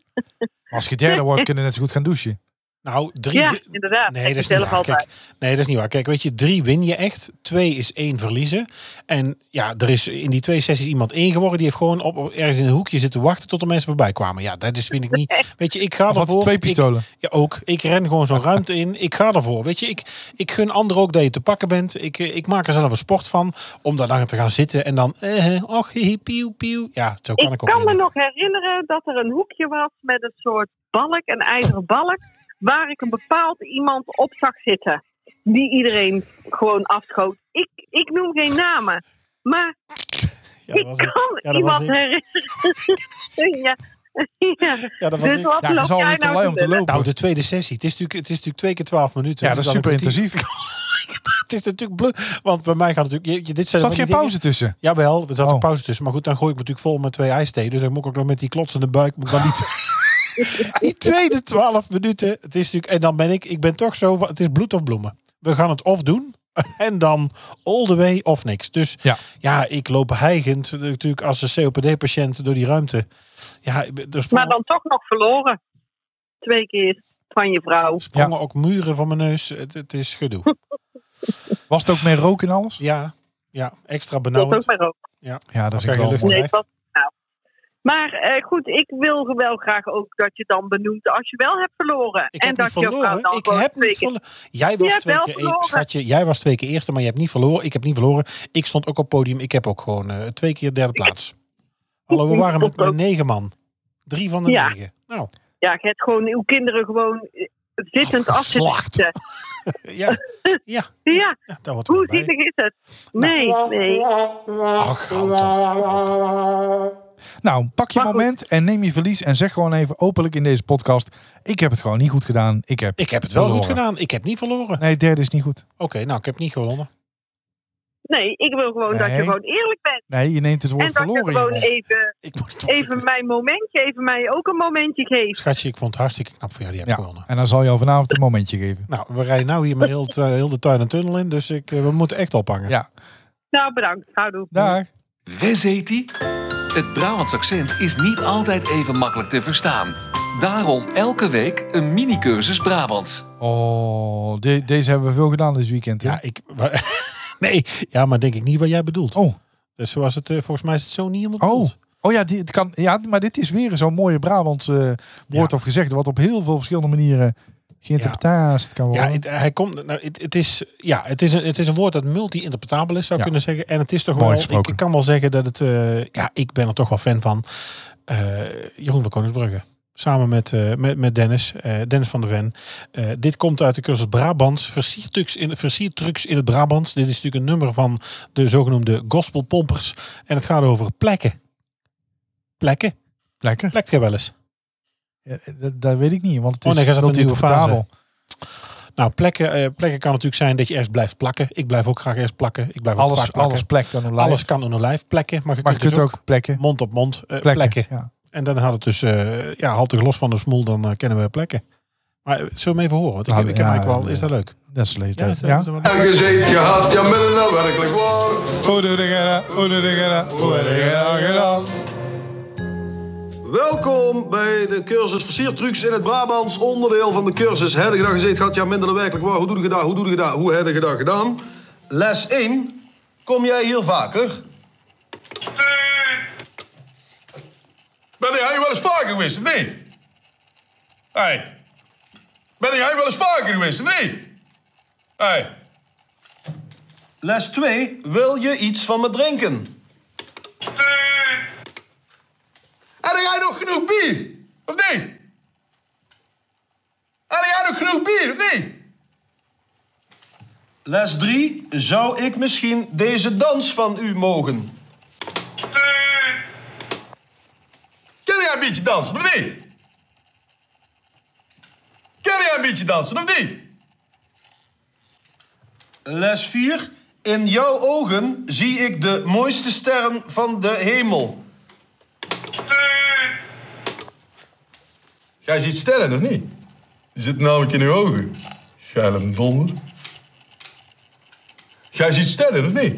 [SPEAKER 2] Als je derde wordt, kunnen net zo goed gaan douchen.
[SPEAKER 3] Nou, drie...
[SPEAKER 4] Ja,
[SPEAKER 3] wi-
[SPEAKER 4] inderdaad.
[SPEAKER 3] Nee, dat
[SPEAKER 4] Zeg je
[SPEAKER 3] is niet
[SPEAKER 4] zelf
[SPEAKER 3] waar.
[SPEAKER 4] altijd.
[SPEAKER 3] Kijk, nee, dat is niet waar. Kijk, weet je, drie win je echt. Twee is één verliezen. En ja, er is in die twee sessies iemand één geworden. Die heeft gewoon op, op- ergens in een hoekje zitten wachten tot de mensen voorbij kwamen. Ja, dat is, vind ik niet... Weet je, ik ga
[SPEAKER 2] Of
[SPEAKER 3] ervoor...
[SPEAKER 2] had twee
[SPEAKER 3] Ik-
[SPEAKER 2] pistolen.
[SPEAKER 3] Ja, ook. Ik ren gewoon zo'n ruimte in. Ik ga ervoor. Weet je, ik, ik gun anderen ook dat je te pakken bent. Ik, eh, ik maak er zelf een sport van. Om daar dan te gaan zitten en dan... Eh, eh, och, hi, hi, pieuw, pieuw. Ja, zo kan ik,
[SPEAKER 4] Ik
[SPEAKER 3] ook
[SPEAKER 4] kan me
[SPEAKER 3] winnen.
[SPEAKER 4] nog herinneren dat er een hoekje was met een soort balk, een ijzeren balk, waar ik een bepaald iemand op zag zitten. Die iedereen gewoon afschoot. Ik, ik noem geen namen. Maar
[SPEAKER 3] Ja, dat
[SPEAKER 4] ik
[SPEAKER 3] was het.
[SPEAKER 4] kan
[SPEAKER 3] Ja, dat
[SPEAKER 4] iemand
[SPEAKER 3] was ik.
[SPEAKER 4] herinneren. ja. ja.
[SPEAKER 3] Ja, dat was
[SPEAKER 4] Dus
[SPEAKER 3] ik.
[SPEAKER 4] wat
[SPEAKER 2] Ja, dat
[SPEAKER 4] loop
[SPEAKER 2] is al
[SPEAKER 4] jij
[SPEAKER 2] niet te lui
[SPEAKER 4] nou
[SPEAKER 2] om
[SPEAKER 4] te
[SPEAKER 2] te
[SPEAKER 4] doen?
[SPEAKER 3] Nou,
[SPEAKER 2] lopen.
[SPEAKER 3] de tweede sessie. Het is natuurlijk, het is natuurlijk twee keer twaalf minuten.
[SPEAKER 2] Ja, dat
[SPEAKER 3] Dus
[SPEAKER 2] is
[SPEAKER 3] dan
[SPEAKER 2] super
[SPEAKER 3] een kwartier.
[SPEAKER 2] intensief.
[SPEAKER 3] Het is natuurlijk blu. Want bij mij gaat natuurlijk... Je, je- dit
[SPEAKER 2] Zat
[SPEAKER 3] zijn van die
[SPEAKER 2] geen pauze tussen?
[SPEAKER 3] Dingen. Jawel, er zat een
[SPEAKER 2] Oh.
[SPEAKER 3] pauze tussen. Maar goed, dan gooi ik me natuurlijk vol met twee ijsthee. Dus dan moet ik ook nog met die klotsende buik... Moet ik dan niet... die tweede twaalf minuten. Het is natuurlijk, en dan ben ik... Ik ben toch zo van... Het is bloed of bloemen. We gaan het of doen... En dan all the way of niks. Dus
[SPEAKER 2] Ja.
[SPEAKER 3] ja ik loop heigend natuurlijk als een COPD-patiënt door die ruimte. Ja, ik ben- er
[SPEAKER 4] Maar
[SPEAKER 3] sprongen,
[SPEAKER 4] dan toch nog verloren. Twee keer van je vrouw.
[SPEAKER 3] sprongen ook muren van mijn neus. Het, het is gedoe.
[SPEAKER 2] Was het ook met rook en alles?
[SPEAKER 3] Ja, ja extra
[SPEAKER 4] dat ook
[SPEAKER 3] benauwd.
[SPEAKER 4] maar ook.
[SPEAKER 2] Ja, dat is
[SPEAKER 3] Oké,
[SPEAKER 2] ik wel
[SPEAKER 3] gelukkig.
[SPEAKER 2] mooi.
[SPEAKER 4] Nee,
[SPEAKER 3] echt.
[SPEAKER 4] dat, nou. Maar eh, goed, ik wil wel graag ook dat je dan benoemt als je wel hebt verloren.
[SPEAKER 3] Ik heb
[SPEAKER 4] en dat
[SPEAKER 3] niet
[SPEAKER 4] je elkaar
[SPEAKER 3] verloren.
[SPEAKER 4] dan
[SPEAKER 3] Ik
[SPEAKER 4] gewoon
[SPEAKER 3] heb
[SPEAKER 4] twee
[SPEAKER 3] niet
[SPEAKER 4] keer-
[SPEAKER 3] verloren. Jij was
[SPEAKER 4] hebt
[SPEAKER 3] twee
[SPEAKER 4] wel
[SPEAKER 3] keer één,
[SPEAKER 4] verloren.
[SPEAKER 3] schatje. Jij was twee keer eerste, maar je hebt niet verloren. Ik heb niet verloren. Ik stond ook op podium. Ik heb ook gewoon eh, twee keer derde plaats. Hallo, we waren met, met negen man. Drie van de
[SPEAKER 4] Ja.
[SPEAKER 3] negen. Nou,
[SPEAKER 4] Ja, je hebt gewoon uw kinderen gewoon eh, zittend
[SPEAKER 3] Oh,
[SPEAKER 4] af te
[SPEAKER 3] Afgeslacht.
[SPEAKER 4] zitten.
[SPEAKER 3] eh, ja, ja,
[SPEAKER 4] Ja,
[SPEAKER 3] ja daar wordt
[SPEAKER 4] hoe
[SPEAKER 3] het bij.
[SPEAKER 4] zielig is het? Nee,
[SPEAKER 3] Nou.
[SPEAKER 4] nee.
[SPEAKER 3] Ach, houd toch op.
[SPEAKER 2] Nou, pak je
[SPEAKER 4] Maar goed.
[SPEAKER 2] moment en neem je verlies. En zeg gewoon even openlijk in deze podcast. Ik heb het gewoon niet goed gedaan. Ik heb...
[SPEAKER 3] Ik heb het wel goed
[SPEAKER 2] Verloren.
[SPEAKER 3] gedaan. Ik heb niet verloren.
[SPEAKER 2] Nee, derde is niet goed.
[SPEAKER 3] Oké, nou, ik heb niet gewonnen.
[SPEAKER 4] Nee, ik wil gewoon dat je
[SPEAKER 2] Nee.
[SPEAKER 4] gewoon eerlijk bent.
[SPEAKER 2] Nee, je neemt het woord
[SPEAKER 4] En dat je
[SPEAKER 2] verloren. in je
[SPEAKER 4] gewoon
[SPEAKER 2] mond.
[SPEAKER 4] even,
[SPEAKER 3] Ik moet het
[SPEAKER 4] even mijn momentje, even mij ook een momentje geeft.
[SPEAKER 3] Schatje, ik vond het hartstikke knap van jou. Die heb
[SPEAKER 2] Ja.
[SPEAKER 3] gewonnen.
[SPEAKER 2] En dan zal je al vanavond een momentje geven.
[SPEAKER 3] Nou, we rijden nou hier met heel, het, eh, heel de tuin en tunnel in. Dus ik, eh, we moeten echt ophangen.
[SPEAKER 2] Ja.
[SPEAKER 4] Nou, bedankt. Houdoe.
[SPEAKER 2] Dag.
[SPEAKER 1] Wes heet hij? Het Brabants accent is niet altijd even makkelijk te verstaan. Daarom elke week een mini-cursus Brabant.
[SPEAKER 2] Oh, de- deze hebben we veel gedaan dit weekend. Hè?
[SPEAKER 3] Ja, ik... wa- nee, ja, maar denk ik niet wat jij bedoelt.
[SPEAKER 2] Oh.
[SPEAKER 3] Dus zoals het, eh, volgens mij is het zo niet helemaal
[SPEAKER 2] Oh.
[SPEAKER 3] bedoeld.
[SPEAKER 2] Oh ja, die, het kan, ja, maar dit is weer zo'n mooie Brabants eh, woord
[SPEAKER 3] Ja.
[SPEAKER 2] of gezegd, wat op heel veel verschillende manieren geïnterpreteerd kan
[SPEAKER 3] Ja,
[SPEAKER 2] worden.
[SPEAKER 3] het, hij komt, nou, het, het, is, ja het, is een, het is een woord dat multi-interpretabel is, zou
[SPEAKER 2] Ja.
[SPEAKER 3] ik kunnen zeggen. En het is toch
[SPEAKER 2] Mooi
[SPEAKER 3] wel, ik,
[SPEAKER 2] gesproken.
[SPEAKER 3] kan wel zeggen dat het, eh, ja, ik ben er toch wel fan van. Eh, Jeroen van Koningsbrugge. Samen met, eh, met, met Dennis, eh, Dennis van der Ven. Eh, dit komt uit de cursus Brabants, versiertrucs in, versiertrucs in het Brabants. Dit is natuurlijk een nummer van de zogenoemde gospelpompers. En het gaat over plekken. Plekken?
[SPEAKER 2] Lekker.
[SPEAKER 3] Plekt jij wel eens?
[SPEAKER 2] Ja, eh, dat, dat weet ik niet, want het
[SPEAKER 3] Oh,
[SPEAKER 2] is
[SPEAKER 3] nee, jij zat in een nieuwe
[SPEAKER 2] multi-interpretabel.
[SPEAKER 3] Nou, plekken, eh, plekken kan natuurlijk zijn dat je ergens blijft plakken. Ik blijf ook graag ergens plakken. Ik blijf ook
[SPEAKER 2] Alles,
[SPEAKER 3] vaak plakken.
[SPEAKER 2] alles plekt aan een lijf.
[SPEAKER 3] Alles kan onder lijf plekken, maar je
[SPEAKER 2] maar je
[SPEAKER 3] kunt,
[SPEAKER 2] kunt
[SPEAKER 3] dus
[SPEAKER 2] ook plekken.
[SPEAKER 3] mond op mond eh, plekken.
[SPEAKER 2] Plekken. Ja.
[SPEAKER 3] En dan had het dus, eh ja, haalt de los van de smoel, dan eh, kennen we plekken. Maar eh, zullen we hem even horen? Want ik,
[SPEAKER 2] Nou,
[SPEAKER 3] ik heb
[SPEAKER 2] ja,
[SPEAKER 3] eigenlijk wel, is dat leuk?
[SPEAKER 2] Dat is leuk.
[SPEAKER 3] Ja,
[SPEAKER 2] Ja,
[SPEAKER 3] is dat- is dat wel leuk?
[SPEAKER 5] Je zit je had je midden nou werkelijk waar. nou Welkom bij de cursus Versiertrucs in het Brabants, onderdeel van de cursus Heb je dat gezeten, gaat je minder dan werkelijk waar. Hoe doe je dat, hoe doe je dat, hoe heb je dat gedaan? Les 1, kom jij hier vaker? Ben jij hier wel eens vaker geweest, of niet? Hey. Ben jij hier wel eens vaker geweest, of niet? Hey. Les 2, wil je iets van me drinken? Eh. Heb jij nog genoeg bier? Of niet? Heb jij nog genoeg bier? Of niet? Les 3. Zou ik misschien deze dans van u mogen? Ken Eh. jij een beetje dansen, of niet? Ken jij een beetje dansen, of niet? Les 4. In jouw ogen zie ik de mooiste sterren van de hemel. Jij ziet sterren, of niet? Die zitten namelijk in uw ogen. Geile donder. Jij ziet sterren, of niet?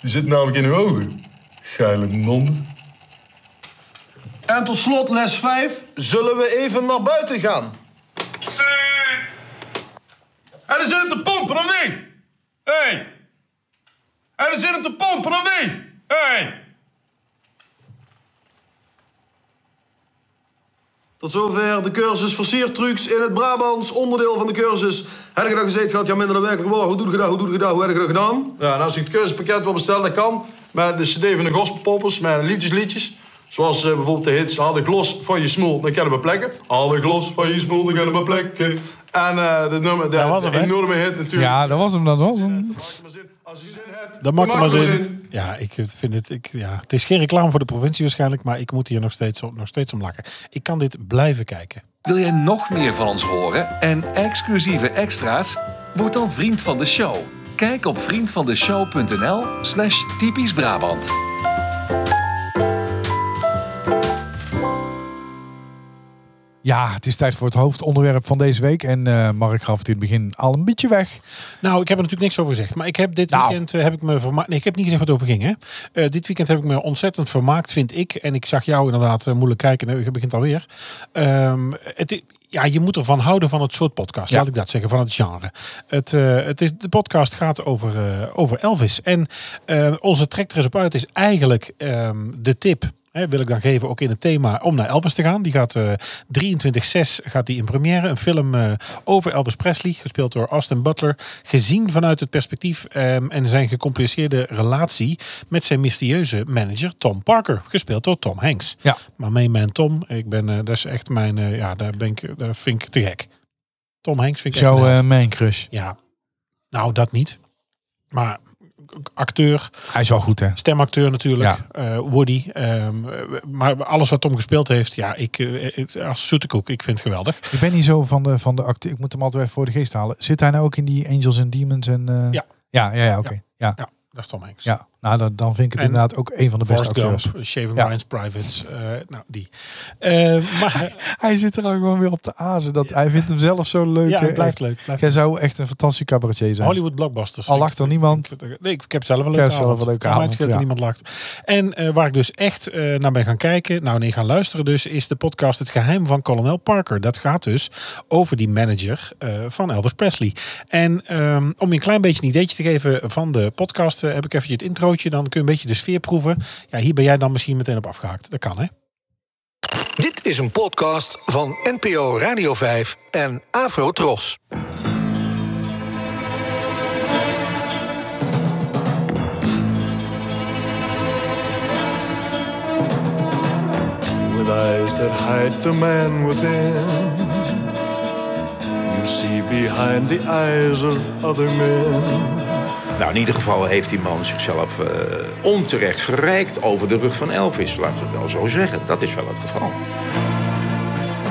[SPEAKER 5] Die zitten namelijk in uw ogen. Geile donder. En tot slot les 5 zullen we even naar buiten gaan. En er zit hem te pompen, of niet? Hé! Hey. En er zit hem te pompen, of niet? Hé! Hey. Tot zover de cursus versiertrucs in het Brabants, onderdeel van de cursus. Heb je dat gezeten gehad, ja minder dan werkelijk waar. Hoe doe je dat, hoe doe je dat, hoe heb je dat gedaan? Ja, en als ik het cursuspakket wil bestellen, dat kan. Met de cd van de gospelpoppers, met liefdesliedjes. Zoals eh, bijvoorbeeld de hits, haal de glos van je smoel, dan kennen we plekken. Haal de glos van je smoel, dan kennen we plekken. En eh, de, nummer, de,
[SPEAKER 3] Dat was hem,
[SPEAKER 5] de
[SPEAKER 3] hè?
[SPEAKER 5] enorme hit natuurlijk.
[SPEAKER 2] ja, dat was hem, dat was hem.
[SPEAKER 5] Maak er maar zin. Als je zin hebt,
[SPEAKER 3] Dat maakt er
[SPEAKER 5] dan
[SPEAKER 3] maar
[SPEAKER 5] maak er
[SPEAKER 3] zin. Ja, ik vind het, ik, ja, het is geen reclame voor de provincie waarschijnlijk, maar ik moet hier nog steeds, op- nog steeds om lachen. Ik kan dit blijven kijken.
[SPEAKER 1] Wil jij nog meer van ons horen en exclusieve extra's? Word dan vriend van de show. Kijk op vriendvandeshow.nl slash typisch Brabant.
[SPEAKER 2] Ja, het is tijd voor het hoofdonderwerp van deze week. En eh, Mark gaf het in het begin al een beetje weg.
[SPEAKER 3] Nou, ik heb er natuurlijk niks over gezegd. Maar ik heb dit
[SPEAKER 2] Nou.
[SPEAKER 3] weekend eh, heb ik me vermaakt. Nee, ik heb niet gezegd wat het over ging. Hè? Eh, dit weekend heb ik me ontzettend vermaakt, vind ik. En ik zag jou inderdaad eh, moeilijk kijken. Nou, Je begint alweer. Ehm het, i- ja, je moet ervan houden van het soort podcast. Laat ik dat zeggen, van het genre. Het, eh, het is, de podcast gaat over, eh, over Elvis. En eh, onze trek er eens op uit is eigenlijk ehm, de tip hè, wil ik dan geven, ook in het thema om naar Elvis te gaan. Die gaat eh 23-6 gaat die in première. Een film eh, over Elvis Presley, gespeeld door Austin Butler. Gezien vanuit het perspectief ehm, en zijn gecompliceerde relatie met zijn mysterieuze manager Tom Parker, gespeeld door Tom Hanks.
[SPEAKER 2] Ja.
[SPEAKER 3] Maar mijn man Tom, ik ben, eh, dat is echt mijn, eh, ja, daar, ben ik, daar vind ik te gek. Tom Hanks vind ik echt een
[SPEAKER 2] Zo,
[SPEAKER 3] held.
[SPEAKER 2] eh mijn crush.
[SPEAKER 3] Ja, nou dat niet. Maar acteur,
[SPEAKER 2] Hij is wel goed, hè?
[SPEAKER 3] Stemacteur natuurlijk, eh, Woody. ehm, eh, maar alles wat Tom gespeeld heeft, ja, ik, eh, ik- als zoetekoek, ik vind het geweldig.
[SPEAKER 2] Ik ben niet zo van de, van de acte. Ik moet hem altijd even voor de geest halen. Zit hij nou ook in die Angels and Demons? En, eh,
[SPEAKER 3] Ja.
[SPEAKER 2] Ja, ja, ja oké.
[SPEAKER 3] Ja.
[SPEAKER 2] Ja.
[SPEAKER 3] Ja, dat is Tom Hanks.
[SPEAKER 2] Ja. Nou, dan, dan vind ik het
[SPEAKER 3] En
[SPEAKER 2] inderdaad ook een van de beste
[SPEAKER 3] Forrest
[SPEAKER 2] acteurs.
[SPEAKER 3] Gump, Shaving
[SPEAKER 2] Ja.
[SPEAKER 3] Ryan's Privates. eh, nou, die. Eh, maar
[SPEAKER 2] Hij zit er dan gewoon weer op te azen. Dat, Hij vindt hem zelf zo leuk.
[SPEAKER 3] ja,
[SPEAKER 2] hè.
[SPEAKER 3] het blijft leuk.
[SPEAKER 2] Echt.
[SPEAKER 3] Blijft
[SPEAKER 2] Jij zou echt een fantastische cabaretier zijn.
[SPEAKER 3] Hollywood blockbusters.
[SPEAKER 2] Al
[SPEAKER 3] Ik-
[SPEAKER 2] lacht er niemand.
[SPEAKER 3] ik- Nee, ik heb zelf een
[SPEAKER 2] heb
[SPEAKER 3] leuke
[SPEAKER 2] zelf
[SPEAKER 3] avond.
[SPEAKER 2] een leuke
[SPEAKER 3] Kan mij het
[SPEAKER 2] avond,
[SPEAKER 3] schelen dat
[SPEAKER 2] ja.
[SPEAKER 3] niemand lacht. En eh, waar ik dus echt eh, naar ben gaan kijken, nou nee, gaan luisteren dus, is de podcast Het Geheim van Kolonel Parker. Dat gaat dus over die manager eh, van Elvis Presley. En ehm, om je een klein beetje een ideetje te geven van de podcast, eh, heb ik eventjes het introotje. Dan kun je een beetje de sfeer proeven. Ja, hier ben jij dan misschien meteen op afgehaakt. Dat kan, hè?
[SPEAKER 6] Dit is een podcast van NPO Radio 5 en Afro Tros.
[SPEAKER 7] with eyes that hide the man within. You see behind the eyes of other men.
[SPEAKER 8] Nou, in ieder geval heeft die man zichzelf eh, onterecht verrijkt over de rug van Elvis. Laten we het wel zo zeggen. Dat is wel het geval.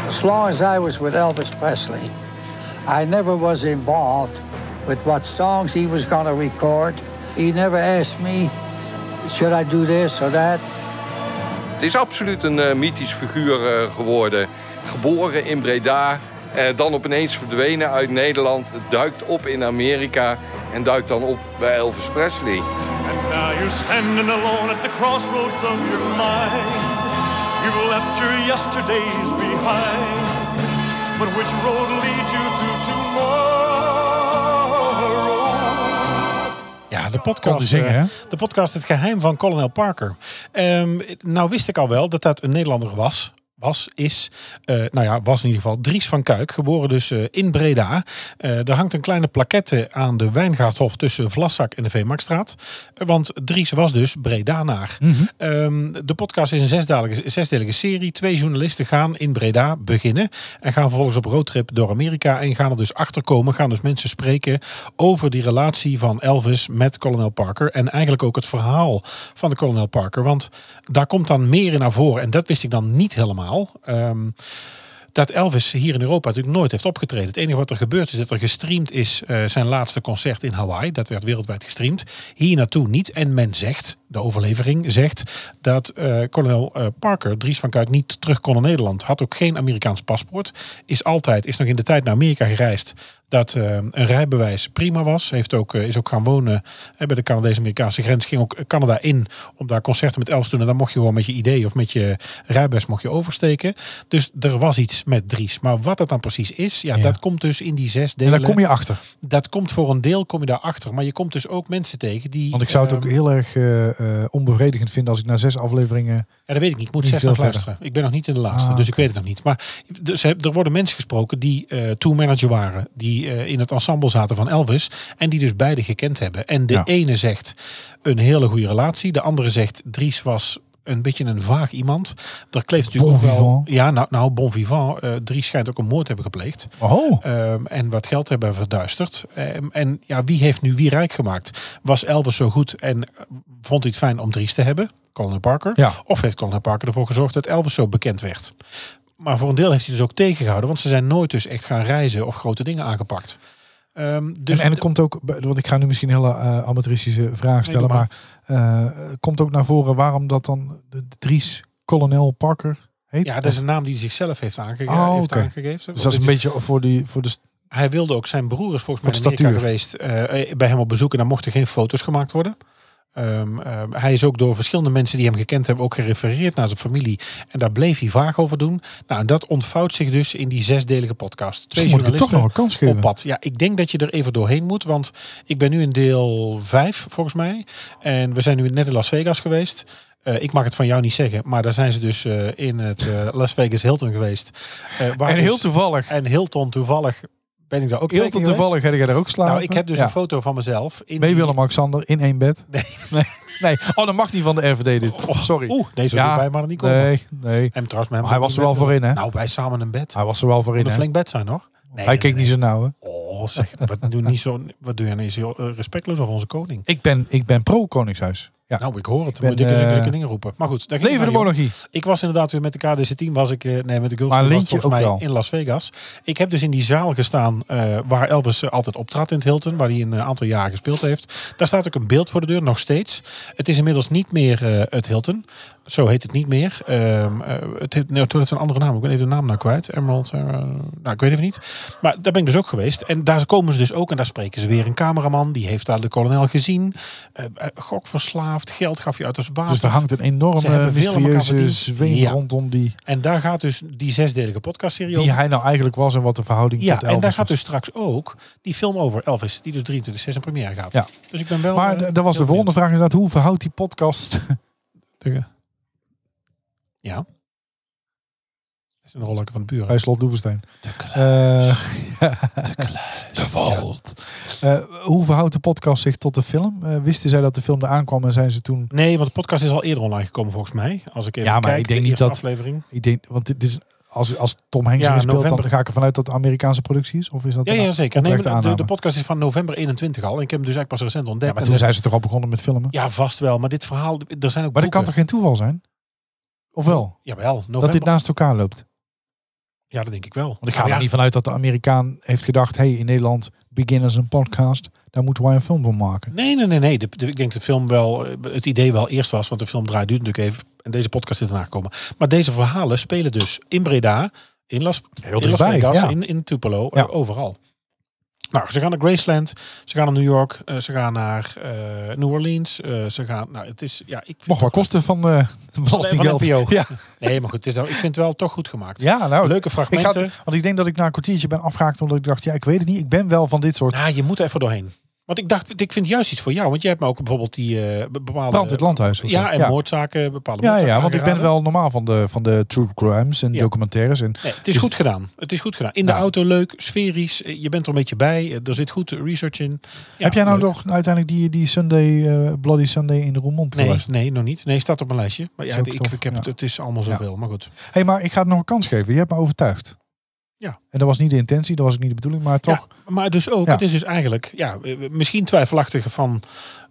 [SPEAKER 9] As long as I was with Elvis Presley, I never was involved with what songs he was going to record. He never asked me, should I do this or that?
[SPEAKER 10] Het is absoluut een eh, mythisch figuur eh, geworden. Geboren in Breda, eh, dan opeens verdwenen uit Nederland, duikt op in Amerika en duikt dan op bij Elvis Presley.
[SPEAKER 7] And now you're standing alone at the crossroads of your mind. You've left your yesterdays behind. But which road leads you to tomorrow?
[SPEAKER 3] Ja, de
[SPEAKER 2] Konden
[SPEAKER 3] podcast,
[SPEAKER 2] zingen,
[SPEAKER 3] eh,
[SPEAKER 2] hè?
[SPEAKER 3] de podcast Het Geheim van Colonel Parker. Ehm, nou wist ik al wel dat dat een Nederlander was. Was, is, eh, nou ja, was in ieder geval Dries van Kuik, geboren dus eh, in Breda. Eh er hangt een kleine plaquette aan de Wijngaardhof tussen Vlassak en de Veemarktstraat. Eh, Want Dries was dus Bredanaar.
[SPEAKER 2] Mhm.
[SPEAKER 3] Ehm, de podcast is een zesdelige, zesdelige serie. Twee journalisten gaan in Breda beginnen en gaan vervolgens op roadtrip door Amerika en gaan er dus achter komen. Gaan dus mensen spreken over die relatie van Elvis met kolonel Parker en eigenlijk ook het verhaal van de kolonel Parker. Want daar komt dan meer in naar voren en dat wist ik dan niet helemaal. Ehm, dat Elvis hier in Europa natuurlijk nooit heeft opgetreden. Het enige wat er gebeurd is dat er gestreamd is eh, zijn laatste concert in Hawaii. Dat werd wereldwijd gestreamd. Hier naartoe niet. En men zegt, de overlevering zegt, dat eh kolonel eh, Parker, Dries van Kuik, niet terug kon naar Nederland. Had ook geen Amerikaans paspoort. Is altijd, is nog in de tijd naar Amerika gereisd. Dat eh, een rijbewijs prima was. Heeft ook, eh, is ook gaan wonen eh, bij de Canadese-Amerikaanse grens. Ging ook Canada in om daar concerten met Elvis te doen. En dan mocht je gewoon met je idee of met je rijbewijs mocht je oversteken. Dus er was iets met Dries. Maar wat dat dan precies is, ja,
[SPEAKER 2] Ja.
[SPEAKER 3] dat komt dus in die zes
[SPEAKER 2] En
[SPEAKER 3] delen.
[SPEAKER 2] daar kom je achter.
[SPEAKER 3] Dat komt voor een deel, kom je daarachter. Maar je komt dus ook mensen tegen die...
[SPEAKER 2] Want ik zou het ook
[SPEAKER 3] ehm,
[SPEAKER 2] heel erg eh, eh, onbevredigend vinden als ik na zes afleveringen...
[SPEAKER 3] Ja, dat weet ik niet. Ik moet
[SPEAKER 2] Niet
[SPEAKER 3] zelf
[SPEAKER 2] veel
[SPEAKER 3] nog
[SPEAKER 2] verder.
[SPEAKER 3] luisteren. Ik ben nog niet in de laatste,
[SPEAKER 2] Ah,
[SPEAKER 3] dus ik weet het nog niet. Maar dus, hè, er worden mensen gesproken die eh tourmanager waren. Die eh, in het ensemble zaten van Elvis. En die dus beide gekend hebben. En de
[SPEAKER 2] Ja.
[SPEAKER 3] ene zegt een hele goede relatie. De andere zegt Dries was een beetje een vaag iemand. Daar kleeft
[SPEAKER 2] Bon
[SPEAKER 3] natuurlijk ook wel...
[SPEAKER 2] vivant.
[SPEAKER 3] Ja, nou, nou bon vivant. eh Dries schijnt ook een moord te hebben gepleegd.
[SPEAKER 2] Oh,
[SPEAKER 3] Ehm, en wat geld hebben verduisterd. Ehm, en ja, wie heeft nu wie rijk gemaakt? Was Elvis zo goed en eh, vond hij het fijn om Dries te hebben? Colin Parker.
[SPEAKER 2] Ja.
[SPEAKER 3] Of heeft Colin Parker ervoor gezorgd dat Elvis zo bekend werd? Maar voor een deel heeft hij dus ook tegengehouden, want ze zijn nooit dus echt gaan reizen of grote dingen aangepakt. Ehm, dus
[SPEAKER 2] en, en het komt ook, want ik ga nu misschien hele eh amateuristische vragen stellen,
[SPEAKER 3] doe
[SPEAKER 2] maar eh, komt ook naar voren waarom dat dan de, de Dries Colonel Parker heet?
[SPEAKER 3] ja, dat is een naam die hij zichzelf heeft, aange
[SPEAKER 2] Oh,
[SPEAKER 3] heeft
[SPEAKER 2] oké.
[SPEAKER 3] aangegeven.
[SPEAKER 2] Dus dat is een
[SPEAKER 3] Dit-
[SPEAKER 2] beetje voor, die, voor de...
[SPEAKER 3] Hij wilde ook zijn broer is volgens mij in
[SPEAKER 2] Voor de
[SPEAKER 3] Amerika geweest eh, bij hem op bezoek en daar mochten geen foto's gemaakt worden. Ehm, ehm, hij is ook door verschillende mensen die hem gekend hebben ook gerefereerd naar zijn familie. En daar bleef hij vaag over doen. Nou, en dat ontvouwt zich dus in die zesdelige podcast. Twee
[SPEAKER 2] Misschien moet ik het
[SPEAKER 3] journalisten
[SPEAKER 2] toch nog een kans geven.
[SPEAKER 3] op pad. Ja, ik denk dat je er even doorheen moet. Want ik ben nu in deel 5 volgens mij. En we zijn nu net in Las Vegas geweest. Eh, ik mag het van jou niet zeggen, maar daar zijn ze dus eh, in het eh, Las Vegas Hilton geweest. Eh, waar
[SPEAKER 2] En heel
[SPEAKER 3] dus-
[SPEAKER 2] toevallig,
[SPEAKER 3] en Hilton toevallig ben ik daar ook twee
[SPEAKER 2] heel
[SPEAKER 3] keer geweest.
[SPEAKER 2] toevallig heb jij daar ook slapen.
[SPEAKER 3] Nou, ik heb dus
[SPEAKER 2] Ja.
[SPEAKER 3] een foto van mezelf. In
[SPEAKER 2] Mee
[SPEAKER 3] die-
[SPEAKER 2] Willem-Alexander in één bed.
[SPEAKER 3] Nee. Oh,
[SPEAKER 2] Nee. nee. Oh, dat mag niet van de RVD dit. Sorry.
[SPEAKER 3] Oeh, deze ja. bij, maar niet komen.
[SPEAKER 2] Nee, nee.
[SPEAKER 3] En trouwens, met hem
[SPEAKER 2] Maar hij was er wel voor in, hè?
[SPEAKER 3] Nou, wij samen een bed.
[SPEAKER 2] Hij was er wel voor in.
[SPEAKER 3] Moet een
[SPEAKER 2] hè?
[SPEAKER 3] flink bed zijn, hoor. Nee,
[SPEAKER 2] Hij
[SPEAKER 3] nee,
[SPEAKER 2] keek
[SPEAKER 3] nee.
[SPEAKER 2] niet zo nauw, hè?
[SPEAKER 3] Oh, zeg, wat doe, niet zo, wat doe je nou? Is heel eh, respectloos over onze koning?
[SPEAKER 2] Ik ben, ik ben pro-Koningshuis. Ja.
[SPEAKER 3] Nou, ik hoor het.
[SPEAKER 2] ben,
[SPEAKER 3] Moet ik eens
[SPEAKER 2] eh,
[SPEAKER 3] een dingen roepen. Maar goed, daar ging
[SPEAKER 2] Leven de
[SPEAKER 3] het maar niet om.
[SPEAKER 2] monarchie.
[SPEAKER 3] Ik was inderdaad weer met de KDC-team, was ik, eh, nee, met de Girls
[SPEAKER 2] Maar
[SPEAKER 3] Team was
[SPEAKER 2] Lintje
[SPEAKER 3] volgens mij
[SPEAKER 2] ook wel.
[SPEAKER 3] in Las Vegas. Ik heb dus in die zaal gestaan eh, waar Elvis eh, altijd optrad in het Hilton, waar hij een eh, aantal jaar gespeeld heeft. Daar staat ook een beeld voor de deur, nog steeds. Het is inmiddels niet meer eh, het Hilton. Zo heet het niet meer. Ehm, eh, het, heeft, nee, het heeft een andere naam. Ik ben even de naam nou kwijt. Emerald. eh, nou, ik weet even niet. Maar daar ben ik dus ook geweest. En daar komen ze dus ook. En daar spreken ze weer een cameraman. Die heeft daar de kolonel gezien. Eh eh, gokverslaafd. Geld gaf je uit als water.
[SPEAKER 2] Dus er hangt een
[SPEAKER 3] Ze hebben
[SPEAKER 2] enorme
[SPEAKER 3] veel aan elkaar
[SPEAKER 2] mysterieuze
[SPEAKER 3] verdiend.
[SPEAKER 2] zweem
[SPEAKER 3] Ja.
[SPEAKER 2] rondom die,
[SPEAKER 3] En daar gaat dus die zesdelige podcastserie
[SPEAKER 2] die
[SPEAKER 3] over.
[SPEAKER 2] hij nou eigenlijk was en wat de verhouding
[SPEAKER 3] Ja,
[SPEAKER 2] tot
[SPEAKER 3] en
[SPEAKER 2] Elvis
[SPEAKER 3] daar gaat
[SPEAKER 2] was.
[SPEAKER 3] dus straks ook die film over Elvis, die dus 23 6 in première gaat.
[SPEAKER 2] Ja.
[SPEAKER 3] Dus ik ben wel.
[SPEAKER 2] Maar
[SPEAKER 3] eh,
[SPEAKER 2] d- dat was
[SPEAKER 3] heel
[SPEAKER 2] de volgende vraag inderdaad. Hoe verhoudt die podcast...
[SPEAKER 3] benieuwd. Ja. Dat is een rollakker van de buren.
[SPEAKER 2] bij Slot Eh, Loevestein. De Vault. Eh, hoe verhoudt de podcast zich tot de film? Eh, wisten zij dat de film eraan kwam en zijn ze toen...
[SPEAKER 3] Nee, want de podcast is al eerder online gekomen volgens mij. Als ik even
[SPEAKER 2] Ja, maar
[SPEAKER 3] kijk,
[SPEAKER 2] ik denk
[SPEAKER 3] de
[SPEAKER 2] niet
[SPEAKER 3] eerste
[SPEAKER 2] dat-
[SPEAKER 3] aflevering.
[SPEAKER 2] Ik denk, want dit is, als, als Tom Hanks
[SPEAKER 3] Ja,
[SPEAKER 2] erin speelt,
[SPEAKER 3] november.
[SPEAKER 2] dan ga ik ervan uit dat het Amerikaanse productie is? Of is dat
[SPEAKER 3] Ja,
[SPEAKER 2] een
[SPEAKER 3] ja, zeker. Nee,
[SPEAKER 2] onterechte
[SPEAKER 3] maar de,
[SPEAKER 2] aanname?
[SPEAKER 3] de podcast is van november 21 al. En ik heb hem dus eigenlijk pas recent ontdekt.
[SPEAKER 2] Ja, maar
[SPEAKER 3] En
[SPEAKER 2] toen
[SPEAKER 3] de-
[SPEAKER 2] zijn ze toch al begonnen met filmen?
[SPEAKER 3] ja, vast wel. Maar dit verhaal, er zijn ook
[SPEAKER 2] maar dat kan toch
[SPEAKER 3] boeken.
[SPEAKER 2] geen toeval zijn? Of wel?
[SPEAKER 3] Jawel, november.
[SPEAKER 2] Dat dit naast elkaar loopt?
[SPEAKER 3] Ja, dat denk ik wel.
[SPEAKER 2] Want ik ga
[SPEAKER 3] ja,
[SPEAKER 2] er niet vanuit dat de Amerikaan heeft gedacht... hey, in Nederland beginnen ze een podcast. Daar moeten wij een film van maken.
[SPEAKER 3] Nee, nee, nee. nee. De, de- ik denk dat de film wel, eh, het idee wel eerst was, want de film draait duurt natuurlijk even. En deze podcast is erna gekomen. Maar deze verhalen spelen dus in Breda, in Las, in Las
[SPEAKER 2] dichtbij,
[SPEAKER 3] Vegas,
[SPEAKER 2] ja.
[SPEAKER 3] in, in Tupelo,
[SPEAKER 2] Ja.
[SPEAKER 3] eh, overal. Nou, ze gaan naar Graceland, ze gaan naar New York, eh, ze gaan naar eh, New Orleans, eh, ze gaan... Nou, het is... Ja, ik vind
[SPEAKER 2] Mocht wel kosten van eh belastinggeld.
[SPEAKER 3] NPO.
[SPEAKER 2] Ja.
[SPEAKER 3] Nee, maar goed, het is, nou- ik vind het wel toch goed gemaakt.
[SPEAKER 2] ja, nou...
[SPEAKER 3] Leuke
[SPEAKER 2] Ik ga,
[SPEAKER 3] fragmenten.
[SPEAKER 2] want ik denk dat ik na een kwartiertje ben afgehaakt omdat ik dacht, ja, ik weet het niet. Ik ben wel van dit soort
[SPEAKER 3] Nou, je moet er even doorheen. Want ik dacht, ik vind juist iets voor jou. Want jij hebt me ook bijvoorbeeld die eh, be- bepaalde...
[SPEAKER 2] brand in het landhuis. of zo.
[SPEAKER 3] Ja, en
[SPEAKER 2] ja.
[SPEAKER 3] moordzaken, bepaalde
[SPEAKER 2] ja,
[SPEAKER 3] moordzaken
[SPEAKER 2] ja, want ik ben
[SPEAKER 3] aangeraden.
[SPEAKER 2] wel normaal van de, van de true crimes en
[SPEAKER 3] Ja.
[SPEAKER 2] documentaires. En
[SPEAKER 3] Nee, het is
[SPEAKER 2] Dus-
[SPEAKER 3] goed gedaan. Het is goed gedaan. In de
[SPEAKER 2] Nou.
[SPEAKER 3] auto leuk, sferisch. eh, Je bent er een beetje bij. eh, Er zit goed research in. Ja,
[SPEAKER 2] heb jij nou
[SPEAKER 3] leuk.
[SPEAKER 2] nog uiteindelijk die, die Sunday, eh, Bloody Sunday in de Roermond
[SPEAKER 3] Nee,
[SPEAKER 2] geluisterd?
[SPEAKER 3] nee, nog niet. Nee, staat op mijn lijstje. Maar
[SPEAKER 2] Is
[SPEAKER 3] ja,
[SPEAKER 2] ook
[SPEAKER 3] ik,
[SPEAKER 2] tof,
[SPEAKER 3] ik heb
[SPEAKER 2] ja.
[SPEAKER 3] het, het is allemaal zoveel. Maar goed.
[SPEAKER 2] Hé, hey, maar ik ga het nog een kans geven. Je hebt me overtuigd.
[SPEAKER 3] Ja.
[SPEAKER 2] En dat was niet de intentie, dat was ook niet de bedoeling, maar toch.
[SPEAKER 3] Ja, maar dus ook,
[SPEAKER 2] Ja.
[SPEAKER 3] het is dus eigenlijk ja, eh, misschien twijfelachtig van,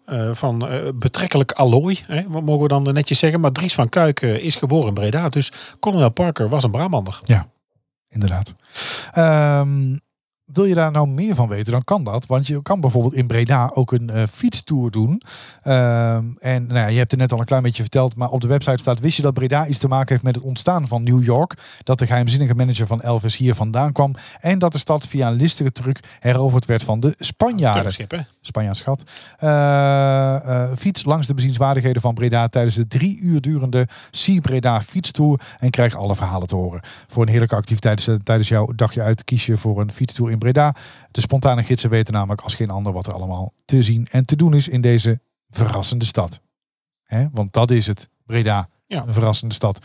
[SPEAKER 3] eh, van eh, betrekkelijk allooi. Hè, wat mogen we dan netjes zeggen. Maar Dries van Kuik eh, is geboren in Breda. Dus kolonel Parker was een Brabander.
[SPEAKER 2] inderdaad. Ehm, wil je daar nou meer van weten, dan kan dat. Want je kan bijvoorbeeld in Breda ook een eh, fietstour doen. Ehm, en nou ja, je hebt het net al een klein beetje verteld, maar op de website staat... wist je dat Breda iets te maken heeft met het ontstaan van New York? Dat de geheimzinnige manager van Elvis hier vandaan kwam. En dat de stad via een listige truc heroverd werd van de Spanjaarden.
[SPEAKER 3] Turkschip, hè?
[SPEAKER 2] Spanjaards gat. Eh, eh, fiets langs de bezienswaardigheden van Breda tijdens de drie uur durende Sea Breda fietstour. En krijg alle verhalen te horen. Voor een heerlijke activiteit eh, tijdens jouw dagje uit kies je voor een fietstour in Breda. De spontane gidsen weten namelijk als geen ander wat er allemaal te zien en te doen is in deze verrassende stad. Hè? Want dat is het, Breda.
[SPEAKER 3] Ja.
[SPEAKER 2] Een verrassende stad.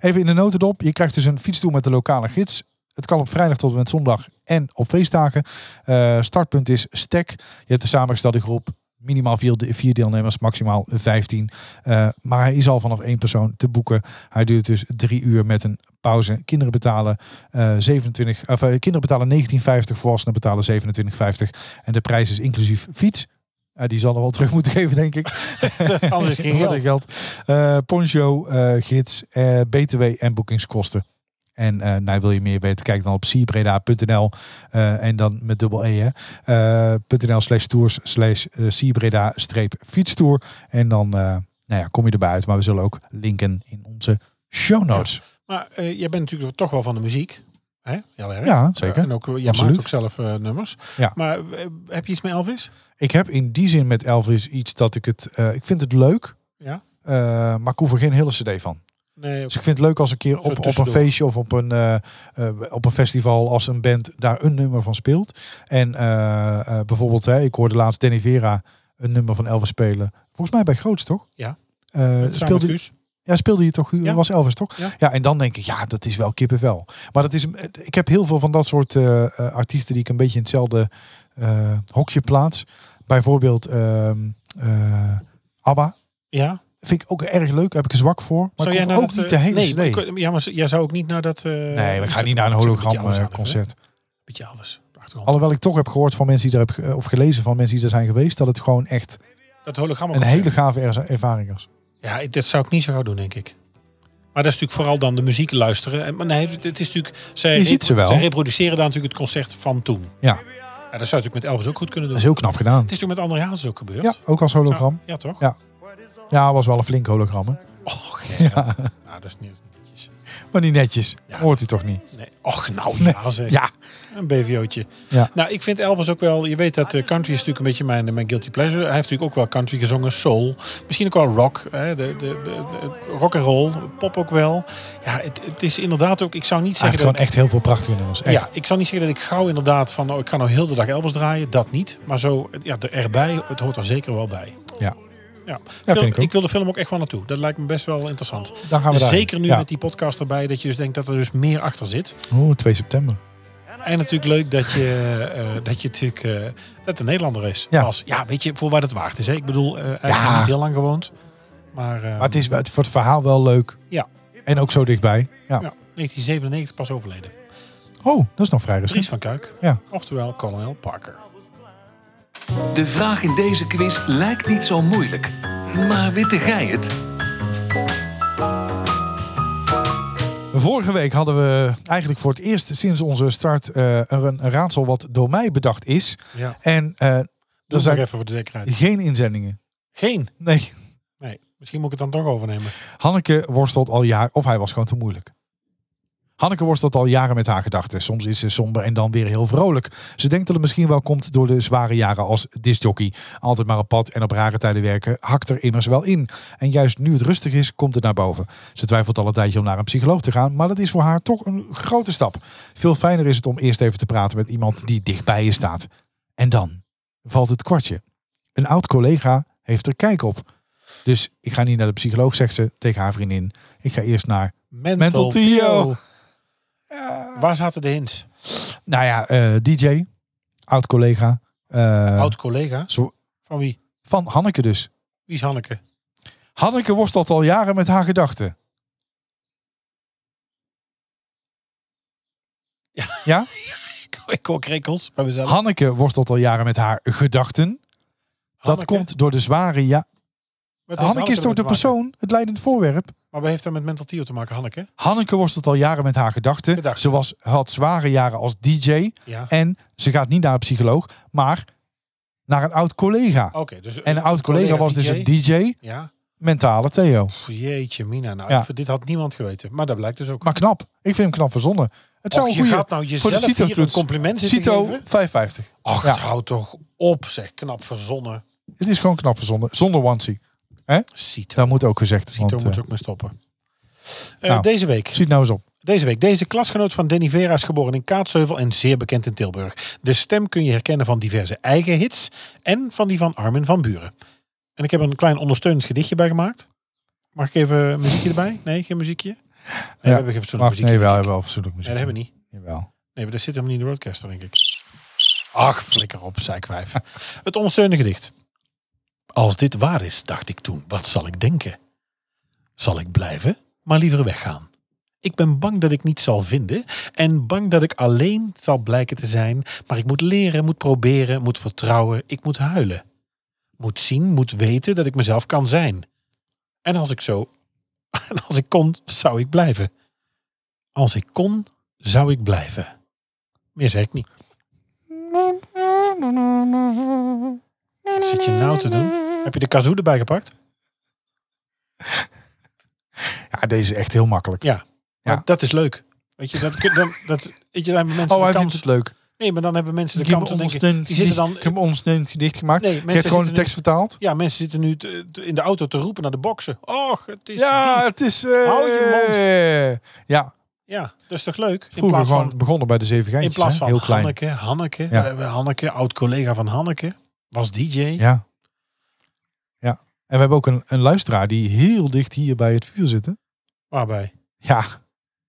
[SPEAKER 2] Even in de notendop. Je krijgt dus een fietstoer met de lokale gids. Het kan op vrijdag tot en met zondag en op feestdagen. Eh, startpunt is STEC. Je hebt de samengestelde groep. Minimaal vier, vier deelnemers, maximaal 15. Eh, maar hij is al vanaf één persoon te boeken. Hij duurt dus drie uur met een pauze. Kinderen betalen, eh 27, of, eh, kinderen betalen 19,50, volwassenen betalen 27,50. En de prijs is inclusief fiets. Eh, die zal er wel terug moeten geven, denk ik.
[SPEAKER 3] Anders is het geen
[SPEAKER 2] Voor dat
[SPEAKER 3] geld.
[SPEAKER 2] geld. Eh, poncho, eh, gids, eh, btw en boekingskosten. En eh, nou, wil je meer weten, kijk dan op cbreda.nl eh, en dan met dubbel E. Hè, Eh, .nl slash tours slash cbreda streep fietstoer. En dan eh, nou ja, kom je erbij uit. Maar we zullen ook linken in onze show notes.
[SPEAKER 3] Maar eh, jij bent natuurlijk toch wel van de muziek. Hè? Heel erg.
[SPEAKER 2] Ja, zeker.
[SPEAKER 3] Eh, en ook, eh, jij
[SPEAKER 2] Absoluut.
[SPEAKER 3] maakt ook zelf eh, nummers.
[SPEAKER 2] Ja.
[SPEAKER 3] Maar eh, heb je iets met Elvis?
[SPEAKER 2] Ik heb in die zin met Elvis iets dat ik het... eh, ik vind het leuk,
[SPEAKER 3] Ja.
[SPEAKER 2] eh, maar ik hoef er geen hele cd van.
[SPEAKER 3] Nee,
[SPEAKER 2] Dus ik vind het leuk als een keer op, op een
[SPEAKER 3] tussendoor.
[SPEAKER 2] feestje of op een, eh, eh, op een festival als een band daar een nummer van speelt. En eh, eh, bijvoorbeeld, hè, ik hoorde laatst Danny Vera een nummer van Elvis spelen. Volgens mij bij Groots, toch?
[SPEAKER 3] Ja.
[SPEAKER 2] Eh,
[SPEAKER 3] speelde
[SPEAKER 2] speelde, ja, speelde je toch?
[SPEAKER 3] Ja.
[SPEAKER 2] Was Elvis toch?
[SPEAKER 3] Ja.
[SPEAKER 2] en dan denk ik, ja, dat is wel kippenvel. Maar dat is, een- ik heb heel veel van dat soort eh, eh, artiesten die ik een beetje in hetzelfde eh, hokje plaats. Bijvoorbeeld ehm, eh, ABBA.
[SPEAKER 3] Ja.
[SPEAKER 2] Vind ik ook erg leuk, heb ik er zwak voor. Maar
[SPEAKER 3] Zou
[SPEAKER 2] ik
[SPEAKER 3] jij
[SPEAKER 2] hoef
[SPEAKER 3] naar
[SPEAKER 2] ook
[SPEAKER 3] dat,
[SPEAKER 2] niet de
[SPEAKER 3] eh,
[SPEAKER 2] hele
[SPEAKER 3] nee, maar
[SPEAKER 2] CD.
[SPEAKER 3] ik- ja, maar z- jij zou ook niet naar dat... eh,
[SPEAKER 2] Nee, we gaan niet naar een eh, hologramconcert.
[SPEAKER 3] Beetje Elvis. op de achtergrond.
[SPEAKER 2] Alhoewel ik toch heb gehoord van mensen die er heb, ge- of gelezen van mensen die er zijn geweest, dat het gewoon echt
[SPEAKER 3] Dat hologram.
[SPEAKER 2] Een hele gave erza- ervaring was.
[SPEAKER 3] Ja, ik- dat zou ik niet zo gauw doen, denk ik. Maar dat is natuurlijk vooral dan de muziek luisteren. En, maar nee, het is natuurlijk. Zij
[SPEAKER 2] Je ziet ze wel.
[SPEAKER 3] Zij reproduceren daar natuurlijk het concert van toen.
[SPEAKER 2] Ja,
[SPEAKER 3] Ja, dat zou natuurlijk met Elvis ook goed kunnen
[SPEAKER 2] dat
[SPEAKER 3] doen.
[SPEAKER 2] is heel knap gedaan.
[SPEAKER 3] Het is toen met André Hazes ook gebeurd.
[SPEAKER 2] Ja, ook als
[SPEAKER 3] Nou,
[SPEAKER 2] hologram.
[SPEAKER 3] ja, toch?
[SPEAKER 2] Ja. Ja, was wel een flink hologram. Hè?
[SPEAKER 3] Och, ja.
[SPEAKER 2] Ja.
[SPEAKER 3] Nou, dat is niet niet netjes.
[SPEAKER 2] Maar niet netjes. Hoort hij toch niet?
[SPEAKER 3] Nee. Och, nou ja, zeg.
[SPEAKER 2] Ja.
[SPEAKER 3] Een BVO'tje.
[SPEAKER 2] Ja.
[SPEAKER 3] Nou, ik vind Elvis ook wel... Je weet dat eh, country is natuurlijk een beetje mijn, mijn guilty pleasure. Hij heeft natuurlijk ook wel country gezongen, soul. Misschien ook wel rock. Hè, de, de, de- de- rock and roll, pop ook wel. Ja, het, het is inderdaad ook... Ik zou niet
[SPEAKER 2] Hij heeft
[SPEAKER 3] zeggen
[SPEAKER 2] gewoon
[SPEAKER 3] dat...
[SPEAKER 2] echt heel veel prachtige nummers. Echt.
[SPEAKER 3] Ja, ik zal niet zeggen dat ik gauw inderdaad van... Oh, ik ga nou heel de dag Elvis draaien. Dat niet. Maar zo ja, er- erbij, het hoort er zeker wel bij.
[SPEAKER 2] Ja.
[SPEAKER 3] Ja,
[SPEAKER 2] Ja,
[SPEAKER 3] Film-
[SPEAKER 2] vind
[SPEAKER 3] ik,
[SPEAKER 2] ik ook.
[SPEAKER 3] wil de film ook echt wel naartoe. Dat lijkt me best wel interessant.
[SPEAKER 2] Dan gaan we daarin.
[SPEAKER 3] Dus Zeker nu
[SPEAKER 2] Ja.
[SPEAKER 3] met die podcast erbij, dat je dus denkt dat er dus meer achter zit.
[SPEAKER 2] Oeh, 2 september.
[SPEAKER 3] En natuurlijk leuk dat je, eh, dat je natuurlijk eh, dat de Nederlander is.
[SPEAKER 2] Ja.
[SPEAKER 3] Als, ja, weet je, voor waar het waard is. Hè? Ik bedoel, eh, hij heeft
[SPEAKER 2] Ja.
[SPEAKER 3] nog niet heel lang gewoond. Maar, eh,
[SPEAKER 2] Maar het is wel- het- voor het verhaal wel leuk.
[SPEAKER 3] Ja.
[SPEAKER 2] En ook zo dichtbij. Ja.
[SPEAKER 3] ja, 1997 pas overleden.
[SPEAKER 2] Oh, dat is nog vrij
[SPEAKER 3] Dries
[SPEAKER 2] recent.
[SPEAKER 3] van Kuik.
[SPEAKER 2] Ja.
[SPEAKER 3] Oftewel Colonel Parker.
[SPEAKER 1] De vraag in deze quiz lijkt niet zo moeilijk. Maar witte gij het?
[SPEAKER 2] Vorige week hadden we eigenlijk voor het eerst sinds onze start eh, er een een raadsel wat door mij bedacht is.
[SPEAKER 3] Ja.
[SPEAKER 2] En eh,
[SPEAKER 3] Doe
[SPEAKER 2] er
[SPEAKER 3] het nog
[SPEAKER 2] zijn
[SPEAKER 3] even voor de zekerheid.
[SPEAKER 2] geen inzendingen.
[SPEAKER 3] Geen.
[SPEAKER 2] Nee,
[SPEAKER 3] Nee, misschien moet ik het dan toch overnemen.
[SPEAKER 2] Hanneke worstelt al jaren, of hij was gewoon te moeilijk. Hanneke worstelt al jaren met haar gedachten. Soms is ze somber en dan weer heel vrolijk. Ze denkt dat het misschien wel komt door de zware jaren als discjockey. Altijd maar op pad en op rare tijden werken hakt er immers wel in. En juist nu het rustig is, komt het naar boven. Ze twijfelt al een tijdje om naar een psycholoog te gaan, maar dat is voor haar toch een grote stap. Veel fijner is het om eerst even te praten met iemand die dichtbij je staat. En dan valt het kwartje. Een oud collega heeft er kijk op. Dus ik ga niet naar de psycholoog, zegt ze tegen haar vriendin. Ik ga eerst naar.
[SPEAKER 3] Mental,
[SPEAKER 2] Mental Theo.
[SPEAKER 3] Theo. Waar zaten de hints?
[SPEAKER 2] Nou ja, eh, DJ, oud collega. eh,
[SPEAKER 3] Oud collega.
[SPEAKER 2] zo-
[SPEAKER 3] Van wie?
[SPEAKER 2] van Hanneke dus.
[SPEAKER 3] Wie is Hanneke?
[SPEAKER 2] Hanneke worstelt al jaren met haar gedachten. Ja.
[SPEAKER 3] Ik hoor krekels bij mezelf.
[SPEAKER 2] Hanneke worstelt al jaren met haar gedachten. Dat
[SPEAKER 3] Hanneke?
[SPEAKER 2] komt door de zware ja.
[SPEAKER 3] Wat heeft
[SPEAKER 2] Hanneke is
[SPEAKER 3] ermee
[SPEAKER 2] toch de
[SPEAKER 3] te maken?
[SPEAKER 2] persoon, het leidend voorwerp.
[SPEAKER 3] Maar wat heeft dat met Mental Theo te maken, Hanneke?
[SPEAKER 2] Hanneke worstelt al jaren met haar gedachten.
[SPEAKER 3] Gedachten.
[SPEAKER 2] Ze was, had zware jaren als DJ.
[SPEAKER 3] Ja.
[SPEAKER 2] En ze gaat niet naar een psycholoog, maar naar een oud collega.
[SPEAKER 3] Oké, dus
[SPEAKER 2] En een oud collega was dus
[SPEAKER 3] DJ.
[SPEAKER 2] een DJ,
[SPEAKER 3] Ja.
[SPEAKER 2] mentale Theo.
[SPEAKER 3] Pff, Jeetje, Mina. Nou,
[SPEAKER 2] Ja.
[SPEAKER 3] ik vind- dit had niemand geweten. Maar dat blijkt dus ook.
[SPEAKER 2] Maar knap. Ik vind hem knap verzonnen. Het zou
[SPEAKER 3] Och,
[SPEAKER 2] een
[SPEAKER 3] je
[SPEAKER 2] goede
[SPEAKER 3] gaat nou
[SPEAKER 2] voor de
[SPEAKER 3] jezelf hier een
[SPEAKER 2] CITO-toets.
[SPEAKER 3] compliment zitten
[SPEAKER 2] CITO
[SPEAKER 3] geven.
[SPEAKER 2] 550.
[SPEAKER 3] Ach,
[SPEAKER 2] Ja.
[SPEAKER 3] hou toch op, zeg. Knap verzonnen.
[SPEAKER 2] Het is gewoon knap verzonnen. Zonder onesie.
[SPEAKER 3] Cito.
[SPEAKER 2] Dat moet ook gezegd.
[SPEAKER 3] Cito
[SPEAKER 2] Want,
[SPEAKER 3] moet
[SPEAKER 2] eh
[SPEAKER 3] ook mee stoppen. Eh,
[SPEAKER 2] nou.
[SPEAKER 3] deze week.
[SPEAKER 2] ziet nou eens op.
[SPEAKER 3] Deze week. Deze klasgenoot van Danny Vera is geboren in Kaatsheuvel en zeer bekend in Tilburg. De stem kun je herkennen van diverse eigen hits en van die van Armin van Buren. En ik heb er een klein ondersteunend gedichtje bij gemaakt. Mag ik even een muziekje erbij? Nee, geen muziekje? Nee, we hebben geen fatsoenlijk
[SPEAKER 2] Wacht,
[SPEAKER 3] muziekje.
[SPEAKER 2] nee, wel
[SPEAKER 3] denk ik.
[SPEAKER 2] hebben we al fatsoenlijk muziek.
[SPEAKER 3] Nee, dat hebben we niet.
[SPEAKER 2] Jawel.
[SPEAKER 3] Nee, maar dat zit helemaal niet in de roadcaster, denk ik. Ach, flikker op, zeikwijf. Het ondersteunende gedicht. Als dit waar is, dacht ik toen, wat zal ik denken? Zal ik blijven, maar liever weggaan? Ik ben bang dat ik niets zal vinden en bang dat ik alleen zal blijken te zijn. Maar ik moet leren, moet proberen, moet vertrouwen, ik moet huilen. Moet zien, moet weten dat ik mezelf kan zijn. En als ik zo... En als ik kon, zou ik blijven. Als ik kon, zou ik blijven. Meer zeg ik niet. Wat zit je nou te doen? Heb je de kazoo erbij gepakt?
[SPEAKER 2] Ja, deze is echt heel makkelijk.
[SPEAKER 3] Ja.
[SPEAKER 2] Ja.
[SPEAKER 3] Maar dat is leuk. Weet je, dat, kun- dan, dat, weet je, dan hebben mensen
[SPEAKER 2] Oh,
[SPEAKER 3] de
[SPEAKER 2] hij vindt
[SPEAKER 3] kans.
[SPEAKER 2] het leuk.
[SPEAKER 3] Nee, maar dan hebben mensen de
[SPEAKER 2] Ik heb
[SPEAKER 3] kans om
[SPEAKER 2] hem
[SPEAKER 3] te denken.
[SPEAKER 2] ondersteunend
[SPEAKER 3] Die zitten
[SPEAKER 2] gedicht-
[SPEAKER 3] dan,
[SPEAKER 2] ik heb hem ondersteunend gedicht gemaakt.
[SPEAKER 3] Nee,
[SPEAKER 2] Je
[SPEAKER 3] mensen
[SPEAKER 2] hebt gewoon de
[SPEAKER 3] zitten
[SPEAKER 2] tekst vertaald.
[SPEAKER 3] ja, mensen zitten nu te- te- in de auto te roepen naar de boksen. Och, het is
[SPEAKER 2] Ja,
[SPEAKER 3] die.
[SPEAKER 2] het is... eh,
[SPEAKER 3] Hou je
[SPEAKER 2] Ja,
[SPEAKER 3] Ja, dat is toch leuk? In
[SPEAKER 2] vroeger
[SPEAKER 3] plaats
[SPEAKER 2] gewoon
[SPEAKER 3] van,
[SPEAKER 2] begonnen bij de Zeven
[SPEAKER 3] in
[SPEAKER 2] Geintjes.
[SPEAKER 3] plaats
[SPEAKER 2] hè?
[SPEAKER 3] van
[SPEAKER 2] heel klein.
[SPEAKER 3] Hanneke, Hanneke,
[SPEAKER 2] Ja.
[SPEAKER 3] we hebben Hanneke, oud collega van Hanneke, was DJ.
[SPEAKER 2] Ja. Ja. En we hebben ook een, een luisteraar die heel dicht hier bij het vuur zit. hè?
[SPEAKER 3] Waarbij?
[SPEAKER 2] Ja,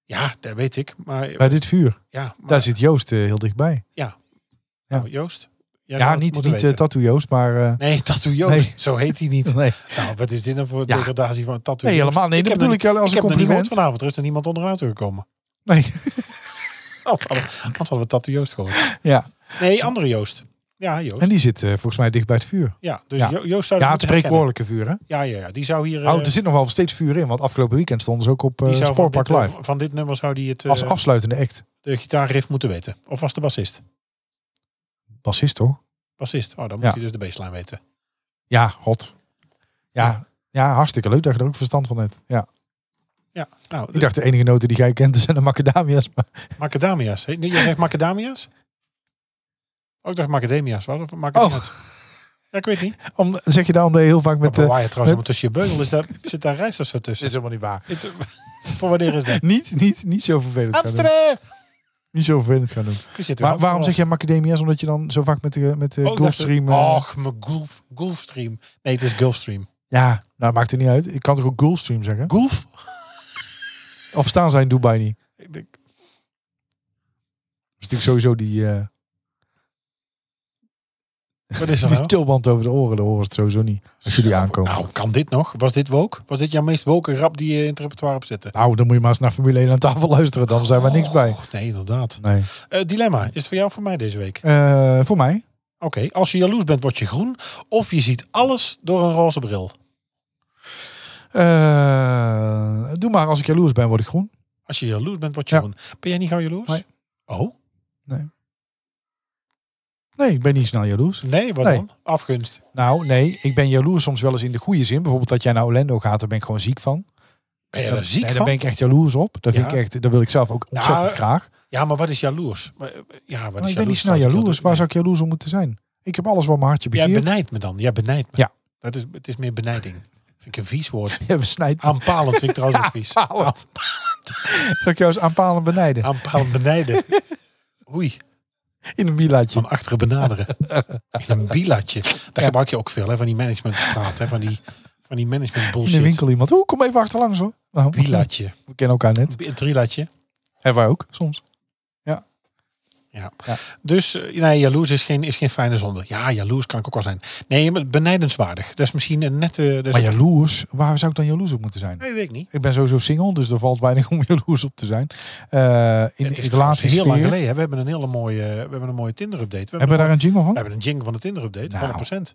[SPEAKER 3] Ja, dat weet ik. Maar,
[SPEAKER 2] bij dit vuur.
[SPEAKER 3] ja, maar-
[SPEAKER 2] Daar zit Joost eh, heel dichtbij. ja.
[SPEAKER 3] nou, Joost. jij zou
[SPEAKER 2] Ja,
[SPEAKER 3] het
[SPEAKER 2] niet,
[SPEAKER 3] moeten
[SPEAKER 2] niet eh,
[SPEAKER 3] weten.
[SPEAKER 2] Tattoo Joost, maar... eh,
[SPEAKER 3] Nee, Tattoo Joost.
[SPEAKER 2] Nee.
[SPEAKER 3] Zo heet hij niet.
[SPEAKER 2] nee.
[SPEAKER 3] Nou, wat is dit nou voor
[SPEAKER 2] Ja.
[SPEAKER 3] degradatie van een tattoo?
[SPEAKER 2] nee, helemaal nee.
[SPEAKER 3] Ik
[SPEAKER 2] Dat
[SPEAKER 3] heb
[SPEAKER 2] bedoel
[SPEAKER 3] nog
[SPEAKER 2] ik wel als
[SPEAKER 3] ik
[SPEAKER 2] een
[SPEAKER 3] heb nog niet gehoord
[SPEAKER 2] compliment.
[SPEAKER 3] vanavond. Er is er niemand onderuit gekomen. Oh,
[SPEAKER 2] Nee,
[SPEAKER 3] Anders hadden, we- anders hadden we Tattoo Joost gehoord.
[SPEAKER 2] ja.
[SPEAKER 3] Nee, andere Joost. Ja, Joost.
[SPEAKER 2] En die zit eh, volgens mij dicht bij het vuur.
[SPEAKER 3] Ja, dus
[SPEAKER 2] Ja.
[SPEAKER 3] Jo- Joost zou
[SPEAKER 2] Ja,
[SPEAKER 3] dat
[SPEAKER 2] het
[SPEAKER 3] moeten herkennen.
[SPEAKER 2] spreekwoordelijke vuur, hè?
[SPEAKER 3] Ja, ja, ja, die zou hier... eh,
[SPEAKER 2] oh, er zit nog wel steeds vuur in, want afgelopen weekend stonden ze ook op eh,
[SPEAKER 3] die zou van,
[SPEAKER 2] Spoorpark
[SPEAKER 3] dit,
[SPEAKER 2] Live.
[SPEAKER 3] eh, van dit nummer zou die het, eh,
[SPEAKER 2] als afsluitende act.
[SPEAKER 3] de gitaarriff moeten weten. Of was de bassist?
[SPEAKER 2] Bassist, toch?
[SPEAKER 3] Bassist. Oh, dan moet
[SPEAKER 2] Ja.
[SPEAKER 3] hij dus de baseline weten.
[SPEAKER 2] Ja, god. Ja, ja. hartstikke leuk dat je er ook verstand van hebt. Ja.
[SPEAKER 3] Ja, nou, de
[SPEAKER 2] Ik dacht de enige noten die jij kent zijn de macadamia's. Maar
[SPEAKER 3] macadamia's. Hey, nee, jij zegt macadamia's? Ook dacht macadamia's. Wat? Of macadamia's?
[SPEAKER 2] Oh.
[SPEAKER 3] Ja, ik weet niet.
[SPEAKER 2] om, zeg je daarom dat je heel vaak met...
[SPEAKER 3] Met,
[SPEAKER 2] eh,
[SPEAKER 3] waar je trouwens
[SPEAKER 2] met-
[SPEAKER 3] met... tussen je beugel is, daar, zit daar rijst of zo tussen.
[SPEAKER 2] helemaal niet waar.
[SPEAKER 3] Het- voor wanneer is dat?
[SPEAKER 2] eh, Niet, niet, niet zo vervelend gaan doen.
[SPEAKER 3] Amsterdam!
[SPEAKER 2] Niet zo vervelend gaan doen.
[SPEAKER 3] Je zit er
[SPEAKER 2] Maar
[SPEAKER 3] ook
[SPEAKER 2] waarom
[SPEAKER 3] voor
[SPEAKER 2] zeg jij macadamia's? Omdat je dan zo vaak met de, met de
[SPEAKER 3] Oh, ik dacht-
[SPEAKER 2] Gulfstream... eh,
[SPEAKER 3] Och, mijn Gulf, Gulfstream. Nee, het is Gulfstream.
[SPEAKER 2] Ja, nou maakt het niet uit. Ik kan toch ook Gulfstream zeggen?
[SPEAKER 3] Gulf?
[SPEAKER 2] Of staan zij in Dubai niet?
[SPEAKER 3] Ik denk,
[SPEAKER 2] Dat is natuurlijk sowieso die, eh
[SPEAKER 3] Wat is er
[SPEAKER 2] die
[SPEAKER 3] nou?
[SPEAKER 2] tilband over de oren. Dan horen ze het sowieso niet. Als jullie
[SPEAKER 3] Zo,
[SPEAKER 2] aankomen. Nou.
[SPEAKER 3] Nou, kan dit nog? Was dit woke? Was dit jouw meest woke rap die je in het repertoire hebt zitten?
[SPEAKER 2] Nou, dan moet je maar eens naar Formule 1 aan tafel luisteren. Dan zijn we niks bij.
[SPEAKER 3] Och, nee, inderdaad.
[SPEAKER 2] Nee.
[SPEAKER 3] Eh, dilemma. Is het voor jou of voor mij deze week? Oké.
[SPEAKER 2] Eh, voor mij?
[SPEAKER 3] Als je jaloers bent, word je groen. Of je ziet alles door een roze bril.
[SPEAKER 2] Eh, doe maar. Als ik jaloers ben, word ik groen.
[SPEAKER 3] Als je jaloers bent, word je
[SPEAKER 2] Ja.
[SPEAKER 3] groen. Ben jij niet gauw jaloers?
[SPEAKER 2] Nee.
[SPEAKER 3] Oh?
[SPEAKER 2] Nee, ik ben niet snel jaloers.
[SPEAKER 3] Nee, wat
[SPEAKER 2] Nee.
[SPEAKER 3] dan? Afgunst.
[SPEAKER 2] Nou, nee. Ik ben jaloers soms wel eens in de goede zin. Bijvoorbeeld dat jij naar Orlando gaat. Daar ben ik gewoon ziek van.
[SPEAKER 3] Ben je
[SPEAKER 2] Dan-
[SPEAKER 3] daar ziek
[SPEAKER 2] nee,
[SPEAKER 3] van?
[SPEAKER 2] Daar ben ik echt jaloers op. Dat, vind
[SPEAKER 3] Ja.
[SPEAKER 2] ik echt, dat wil ik zelf ook ontzettend
[SPEAKER 3] Nou,
[SPEAKER 2] graag.
[SPEAKER 3] Ja, maar wat is jaloers? Maar, eh, Ja, wat
[SPEAKER 2] Maar
[SPEAKER 3] is
[SPEAKER 2] ik ben niet
[SPEAKER 3] jaloers?
[SPEAKER 2] snel
[SPEAKER 3] Dat ik
[SPEAKER 2] jaloers. Waar
[SPEAKER 3] nee.
[SPEAKER 2] zou ik jaloers om moeten zijn? Ik heb alles wat mijn hartje begeert.
[SPEAKER 3] Jij benijdt me dan. Jij benijdt me.
[SPEAKER 2] Ja.
[SPEAKER 3] Dat is, het is meer benijding. Vind ik een vies woord.
[SPEAKER 2] Ja, besnijd.
[SPEAKER 3] Aanpalend vind ik trouwens ook vies.
[SPEAKER 2] Aanpalend. Zal ik jou eens aanpalen benijden?
[SPEAKER 3] Aanpalend benijden. Oei,
[SPEAKER 2] In een bilaatje.
[SPEAKER 3] van achteren benaderen. In een bilatje. Daar gebruik je ook veel hè, van die management praat. Hè, van, die, van die management
[SPEAKER 2] In de
[SPEAKER 3] bullshit.
[SPEAKER 2] winkel iemand. Oeh, kom even achterlangs hoor. Nou,
[SPEAKER 3] Bilatje.
[SPEAKER 2] We kennen elkaar net.
[SPEAKER 3] Een trilatje.
[SPEAKER 2] En wij ook, soms.
[SPEAKER 3] Ja.
[SPEAKER 2] Ja.
[SPEAKER 3] Dus eh, nee, jaloers is geen, is geen fijne zonde. Ja, jaloers kan ik ook wel zijn. Nee, maar benijdenswaardig. Dat is misschien een nette... Dat is-
[SPEAKER 2] Maar jaloers, waar zou ik dan jaloers op moeten zijn?
[SPEAKER 3] Nee, weet ik niet.
[SPEAKER 2] Ik ben sowieso single, dus er valt weinig om jaloers op te zijn. Eh, in
[SPEAKER 3] Het
[SPEAKER 2] de
[SPEAKER 3] is trouwens heel lang
[SPEAKER 2] relatiesfeer.
[SPEAKER 3] geleden. hè. We hebben een hele mooie, we hebben een mooie Tinder-update. We
[SPEAKER 2] Hebben we daar een jingle
[SPEAKER 3] We
[SPEAKER 2] van?
[SPEAKER 3] hebben een jingle van de Tinder-update,
[SPEAKER 2] Nou.
[SPEAKER 3] 100%.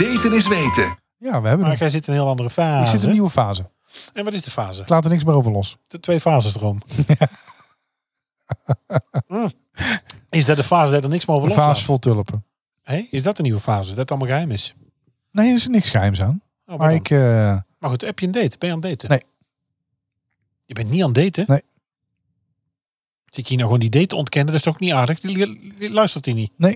[SPEAKER 1] Daten is weten.
[SPEAKER 2] Ja, we hebben
[SPEAKER 3] Maar
[SPEAKER 2] hem.
[SPEAKER 3] jij zit in een heel andere fase.
[SPEAKER 2] Ik zit in een nieuwe fase.
[SPEAKER 3] En wat is de fase?
[SPEAKER 2] Ik laat er niks meer over los.
[SPEAKER 3] De twee fases erom. Mm. Is dat de fase dat er niks meer over
[SPEAKER 2] Een
[SPEAKER 3] loslaat?
[SPEAKER 2] fase vol tulpen.
[SPEAKER 3] Hé, Is dat de nieuwe fase? Dat het allemaal geheim is? Oh,
[SPEAKER 2] Nee, er is niks geheims aan.
[SPEAKER 3] wat
[SPEAKER 2] Maar
[SPEAKER 3] dan?
[SPEAKER 2] ik... eh,
[SPEAKER 3] maar goed, heb je een date? Ben je aan het daten?
[SPEAKER 2] Nee.
[SPEAKER 3] Je bent niet aan het daten?
[SPEAKER 2] Nee.
[SPEAKER 3] Zie ik hier nou gewoon die date ontkennen? Dat is toch niet aardig? Die- die- Luistert hij niet?
[SPEAKER 2] Nee.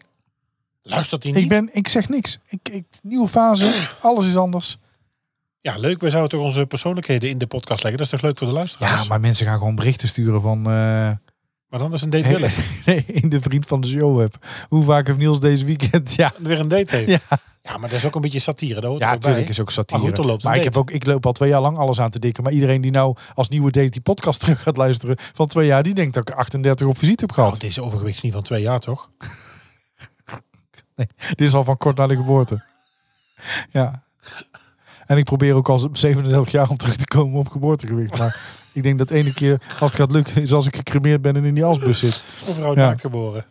[SPEAKER 3] Luistert hij niet?
[SPEAKER 2] ik, ben, ik zeg niks. Ik, ik, nieuwe fase, alles is anders.
[SPEAKER 3] Ja, leuk. We zouden toch onze persoonlijkheden in de podcast leggen? Dat is toch leuk voor de luisteraars?
[SPEAKER 2] Ja, maar mensen gaan gewoon berichten sturen van... eh,
[SPEAKER 3] Maar dan is een date
[SPEAKER 2] Hey,
[SPEAKER 3] willen.
[SPEAKER 2] nee, in de vriend van de show heb. Hoe vaak heeft Niels deze weekend? Ja,
[SPEAKER 3] Weer een date heeft. Ja, maar dat is ook een beetje satire. Dat hoort er
[SPEAKER 2] ja
[SPEAKER 3] ook bij.
[SPEAKER 2] natuurlijk is ook satire.
[SPEAKER 3] Maar goed, er loopt een
[SPEAKER 2] ik,
[SPEAKER 3] date.
[SPEAKER 2] heb ook, ik loop al twee jaar lang alles aan te dikken. Maar iedereen die nou als nieuwe date die podcast terug gaat luisteren van twee jaar, die denkt dat ik 38 op visite heb
[SPEAKER 3] Nou,
[SPEAKER 2] gehad.
[SPEAKER 3] het is overigens niet van twee jaar, toch?
[SPEAKER 2] Dit is al van kort na de geboorte. ja. En ik probeer ook al op 37 jaar om terug te komen op geboortegewicht. Maar ik denk dat de ene keer als het gaat lukken is als ik gecremeerd ben en in die asbus zit.
[SPEAKER 3] Een vrouw
[SPEAKER 2] Ja.
[SPEAKER 3] naakt geboren.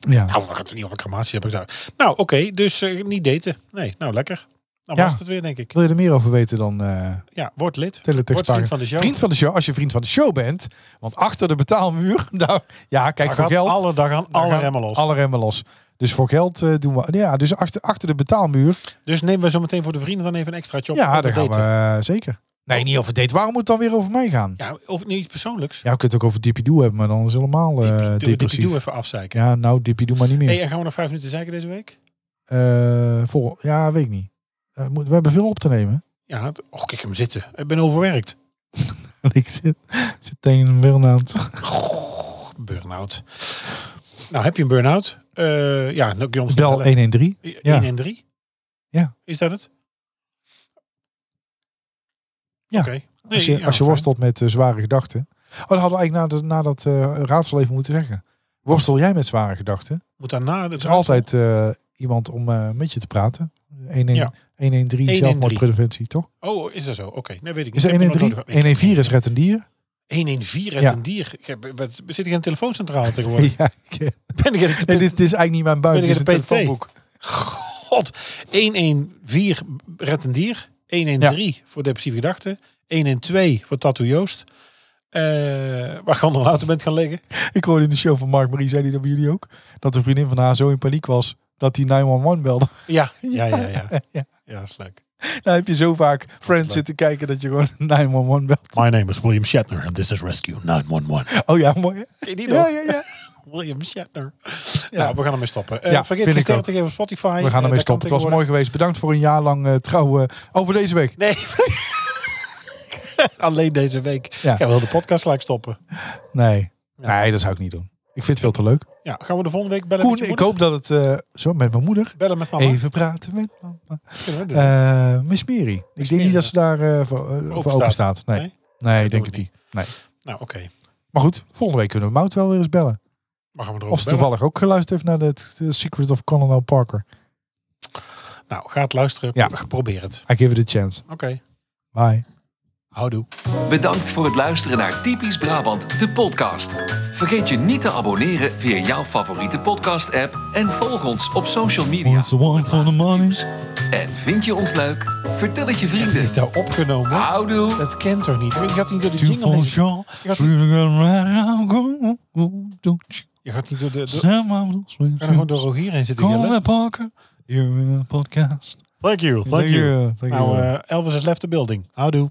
[SPEAKER 2] Ja.
[SPEAKER 3] Nou, we gaan het niet over crematie hebben. gezegd. Nou, oké. dus eh, niet daten. Nee, nou lekker. Dan
[SPEAKER 2] Ja.
[SPEAKER 3] was het weer, denk ik.
[SPEAKER 2] Wil je er meer over weten dan... eh,
[SPEAKER 3] Ja, word lid. Word
[SPEAKER 2] Teletext
[SPEAKER 3] vriend van de show.
[SPEAKER 2] Vriend van de show, als je vriend van de show bent. Want achter de betaalmuur, daar, ja, kijk,
[SPEAKER 3] Daar
[SPEAKER 2] voor
[SPEAKER 3] gaat
[SPEAKER 2] geld.
[SPEAKER 3] Alle dag aan
[SPEAKER 2] daar
[SPEAKER 3] alle
[SPEAKER 2] gaan
[SPEAKER 3] remmen los.
[SPEAKER 2] Alle remmen los. Dus voor geld eh, doen we. Ja, dus achter, achter de betaalmuur.
[SPEAKER 3] Dus nemen we zo meteen voor de vrienden dan even een extraatje op.
[SPEAKER 2] ja,
[SPEAKER 3] over
[SPEAKER 2] daar gaan we
[SPEAKER 3] daten.
[SPEAKER 2] eh, zeker. Nee, niet over date. Waarom moet het dan weer over mij gaan?
[SPEAKER 3] Ja, of niet iets persoonlijks.
[SPEAKER 2] Ja, we kunnen het ook over Dippy Doe hebben, maar dan is het helemaal eh,
[SPEAKER 3] Dippie, doe,
[SPEAKER 2] depressief.
[SPEAKER 3] doe even afzeiken.
[SPEAKER 2] ja, nou, Dippy Doe maar niet meer.
[SPEAKER 3] hey, en gaan we nog vijf minuten zeiken deze week?
[SPEAKER 2] Eh, vol, ja, weet ik niet. Eh, moet- we hebben veel op te nemen.
[SPEAKER 3] Ja, het- och, kijk hem zitten. Ik ben overwerkt.
[SPEAKER 2] ik zit, zit tegen een burn-out.
[SPEAKER 3] Goh, Burn-out. Nou, heb je een burn-out? Eh, ja, nou, jongens.
[SPEAKER 2] Bel 113.
[SPEAKER 3] 1
[SPEAKER 2] ja.
[SPEAKER 3] en 3?
[SPEAKER 2] Ja.
[SPEAKER 3] Is dat het?
[SPEAKER 2] Ja.
[SPEAKER 3] Oké. Nee,
[SPEAKER 2] als je,
[SPEAKER 3] ja,
[SPEAKER 2] als je
[SPEAKER 3] fijn.
[SPEAKER 2] worstelt met eh, zware gedachten. Oh, dat hadden we eigenlijk na, de, na dat eh, raadsel even moeten zeggen. Worstel jij met zware gedachten?
[SPEAKER 3] Moet daarna...
[SPEAKER 2] Er is altijd eh, iemand om eh, met je te praten. 1
[SPEAKER 3] Ja.
[SPEAKER 2] 113
[SPEAKER 3] 113.
[SPEAKER 2] zelfmoordpreventie, toch?
[SPEAKER 3] Oh, is dat zo? Oké, nee, weet ik niet.
[SPEAKER 2] Is er
[SPEAKER 3] Ik heb nog
[SPEAKER 2] 113?
[SPEAKER 3] nodig- ik-
[SPEAKER 2] 114 is red een dier.
[SPEAKER 3] 1 in 4 en
[SPEAKER 2] Ja.
[SPEAKER 3] een dier. Ik heb, wat, zit ik in een telefooncentrale tegenwoordig?
[SPEAKER 2] Ja, ik- eh,
[SPEAKER 3] Ben ik in de
[SPEAKER 2] nee, dit, dit is eigenlijk niet mijn buik,
[SPEAKER 3] Ben
[SPEAKER 2] dit
[SPEAKER 3] ik
[SPEAKER 2] is een
[SPEAKER 3] in de PT?
[SPEAKER 2] telefoonboek.
[SPEAKER 3] God. 114 redt een dier. 113 voor depressieve gedachten. 112 voor Tattoo Joost. Eh, waar je onder later bent gaan liggen.
[SPEAKER 2] Ik hoorde in de show van Mark Marie, zei die dat bij jullie ook? Dat de vriendin van haar zo in paniek was dat hij 911 belde.
[SPEAKER 3] Ja, ja, ja, ja.
[SPEAKER 2] Ja.
[SPEAKER 3] Ja, dat is leuk.
[SPEAKER 2] Nou heb je zo vaak Friends zitten kijken dat je gewoon 911 belt.
[SPEAKER 3] My name is William Shatner and this is Rescue 911.
[SPEAKER 2] Oh ja, mooi. hè?
[SPEAKER 3] Ken je die nog?
[SPEAKER 2] Ja, ja, ja.
[SPEAKER 3] William Shatner. Nou, we gaan ermee stoppen. Eh,
[SPEAKER 2] Ja,
[SPEAKER 3] vergeet
[SPEAKER 2] vind
[SPEAKER 3] geen
[SPEAKER 2] ik
[SPEAKER 3] sterren
[SPEAKER 2] ook.
[SPEAKER 3] te geven op Spotify.
[SPEAKER 2] We gaan
[SPEAKER 3] Eh,
[SPEAKER 2] ermee
[SPEAKER 3] dat kan
[SPEAKER 2] stoppen. Het was mooi
[SPEAKER 3] tegenwoordig.
[SPEAKER 2] geweest. Bedankt voor een jaar lang eh, trouw. eh, over deze week.
[SPEAKER 3] Nee, alleen deze week.
[SPEAKER 2] Ja.
[SPEAKER 3] Ja, we wilden de podcast gelijk stoppen.
[SPEAKER 2] Nee. Nee, dat zou ik niet doen. Ik vind het veel te leuk.
[SPEAKER 3] Ja, gaan we de volgende week bellen
[SPEAKER 2] Koen,
[SPEAKER 3] met je
[SPEAKER 2] ik
[SPEAKER 3] moeder?
[SPEAKER 2] hoop dat het... eh, zo, met mijn moeder.
[SPEAKER 3] Bellen met mama.
[SPEAKER 2] Even praten met mama.
[SPEAKER 3] Kunnen we doen.
[SPEAKER 2] Eh Miss Mary. Ik denk
[SPEAKER 3] Mary,
[SPEAKER 2] niet dat ze daar eh, voor, eh, voor open staat. Nee, nee, ik denk
[SPEAKER 3] doen
[SPEAKER 2] het
[SPEAKER 3] we
[SPEAKER 2] niet. Nee.
[SPEAKER 3] Nou, oké.
[SPEAKER 2] Maar goed, volgende week kunnen we Mout wel weer eens bellen.
[SPEAKER 3] Maar gaan we erover
[SPEAKER 2] Of ze
[SPEAKER 3] bellen?
[SPEAKER 2] toevallig ook geluisterd heeft naar het The Secret of Colonel Parker.
[SPEAKER 3] Nou, ga het luisteren.
[SPEAKER 2] Ja.
[SPEAKER 3] Probeer het.
[SPEAKER 2] I give it a chance.
[SPEAKER 3] Oké.
[SPEAKER 2] Bye.
[SPEAKER 3] Houdoe.
[SPEAKER 1] Bedankt voor het luisteren naar Typisch Brabant, de podcast. Vergeet je niet te abonneren via jouw favoriete podcast-app en volg ons op social media.
[SPEAKER 2] What's the one for the money?
[SPEAKER 1] En vind je ons leuk? Vertel het je
[SPEAKER 3] Dit
[SPEAKER 1] vrienden.
[SPEAKER 3] is nou opgenomen.
[SPEAKER 1] Houdoe.
[SPEAKER 3] Dat kent toch niet? Je gaat niet door de
[SPEAKER 2] Two
[SPEAKER 3] jingle
[SPEAKER 2] for
[SPEAKER 3] heen.
[SPEAKER 2] sure.
[SPEAKER 3] Je gaat,
[SPEAKER 2] Three to right I'm going. Oh, Don't you
[SPEAKER 3] je gaat niet door de... door-
[SPEAKER 2] sell my blues when
[SPEAKER 3] we gaan er gewoon
[SPEAKER 2] you-
[SPEAKER 3] door Rogier heen zitten
[SPEAKER 2] Colonel
[SPEAKER 3] gillen.
[SPEAKER 2] Parker. You're in the podcast.
[SPEAKER 3] Thank you, thank,
[SPEAKER 2] Thank you.
[SPEAKER 3] Nou, eh, Elvis has left the building. Houdoe.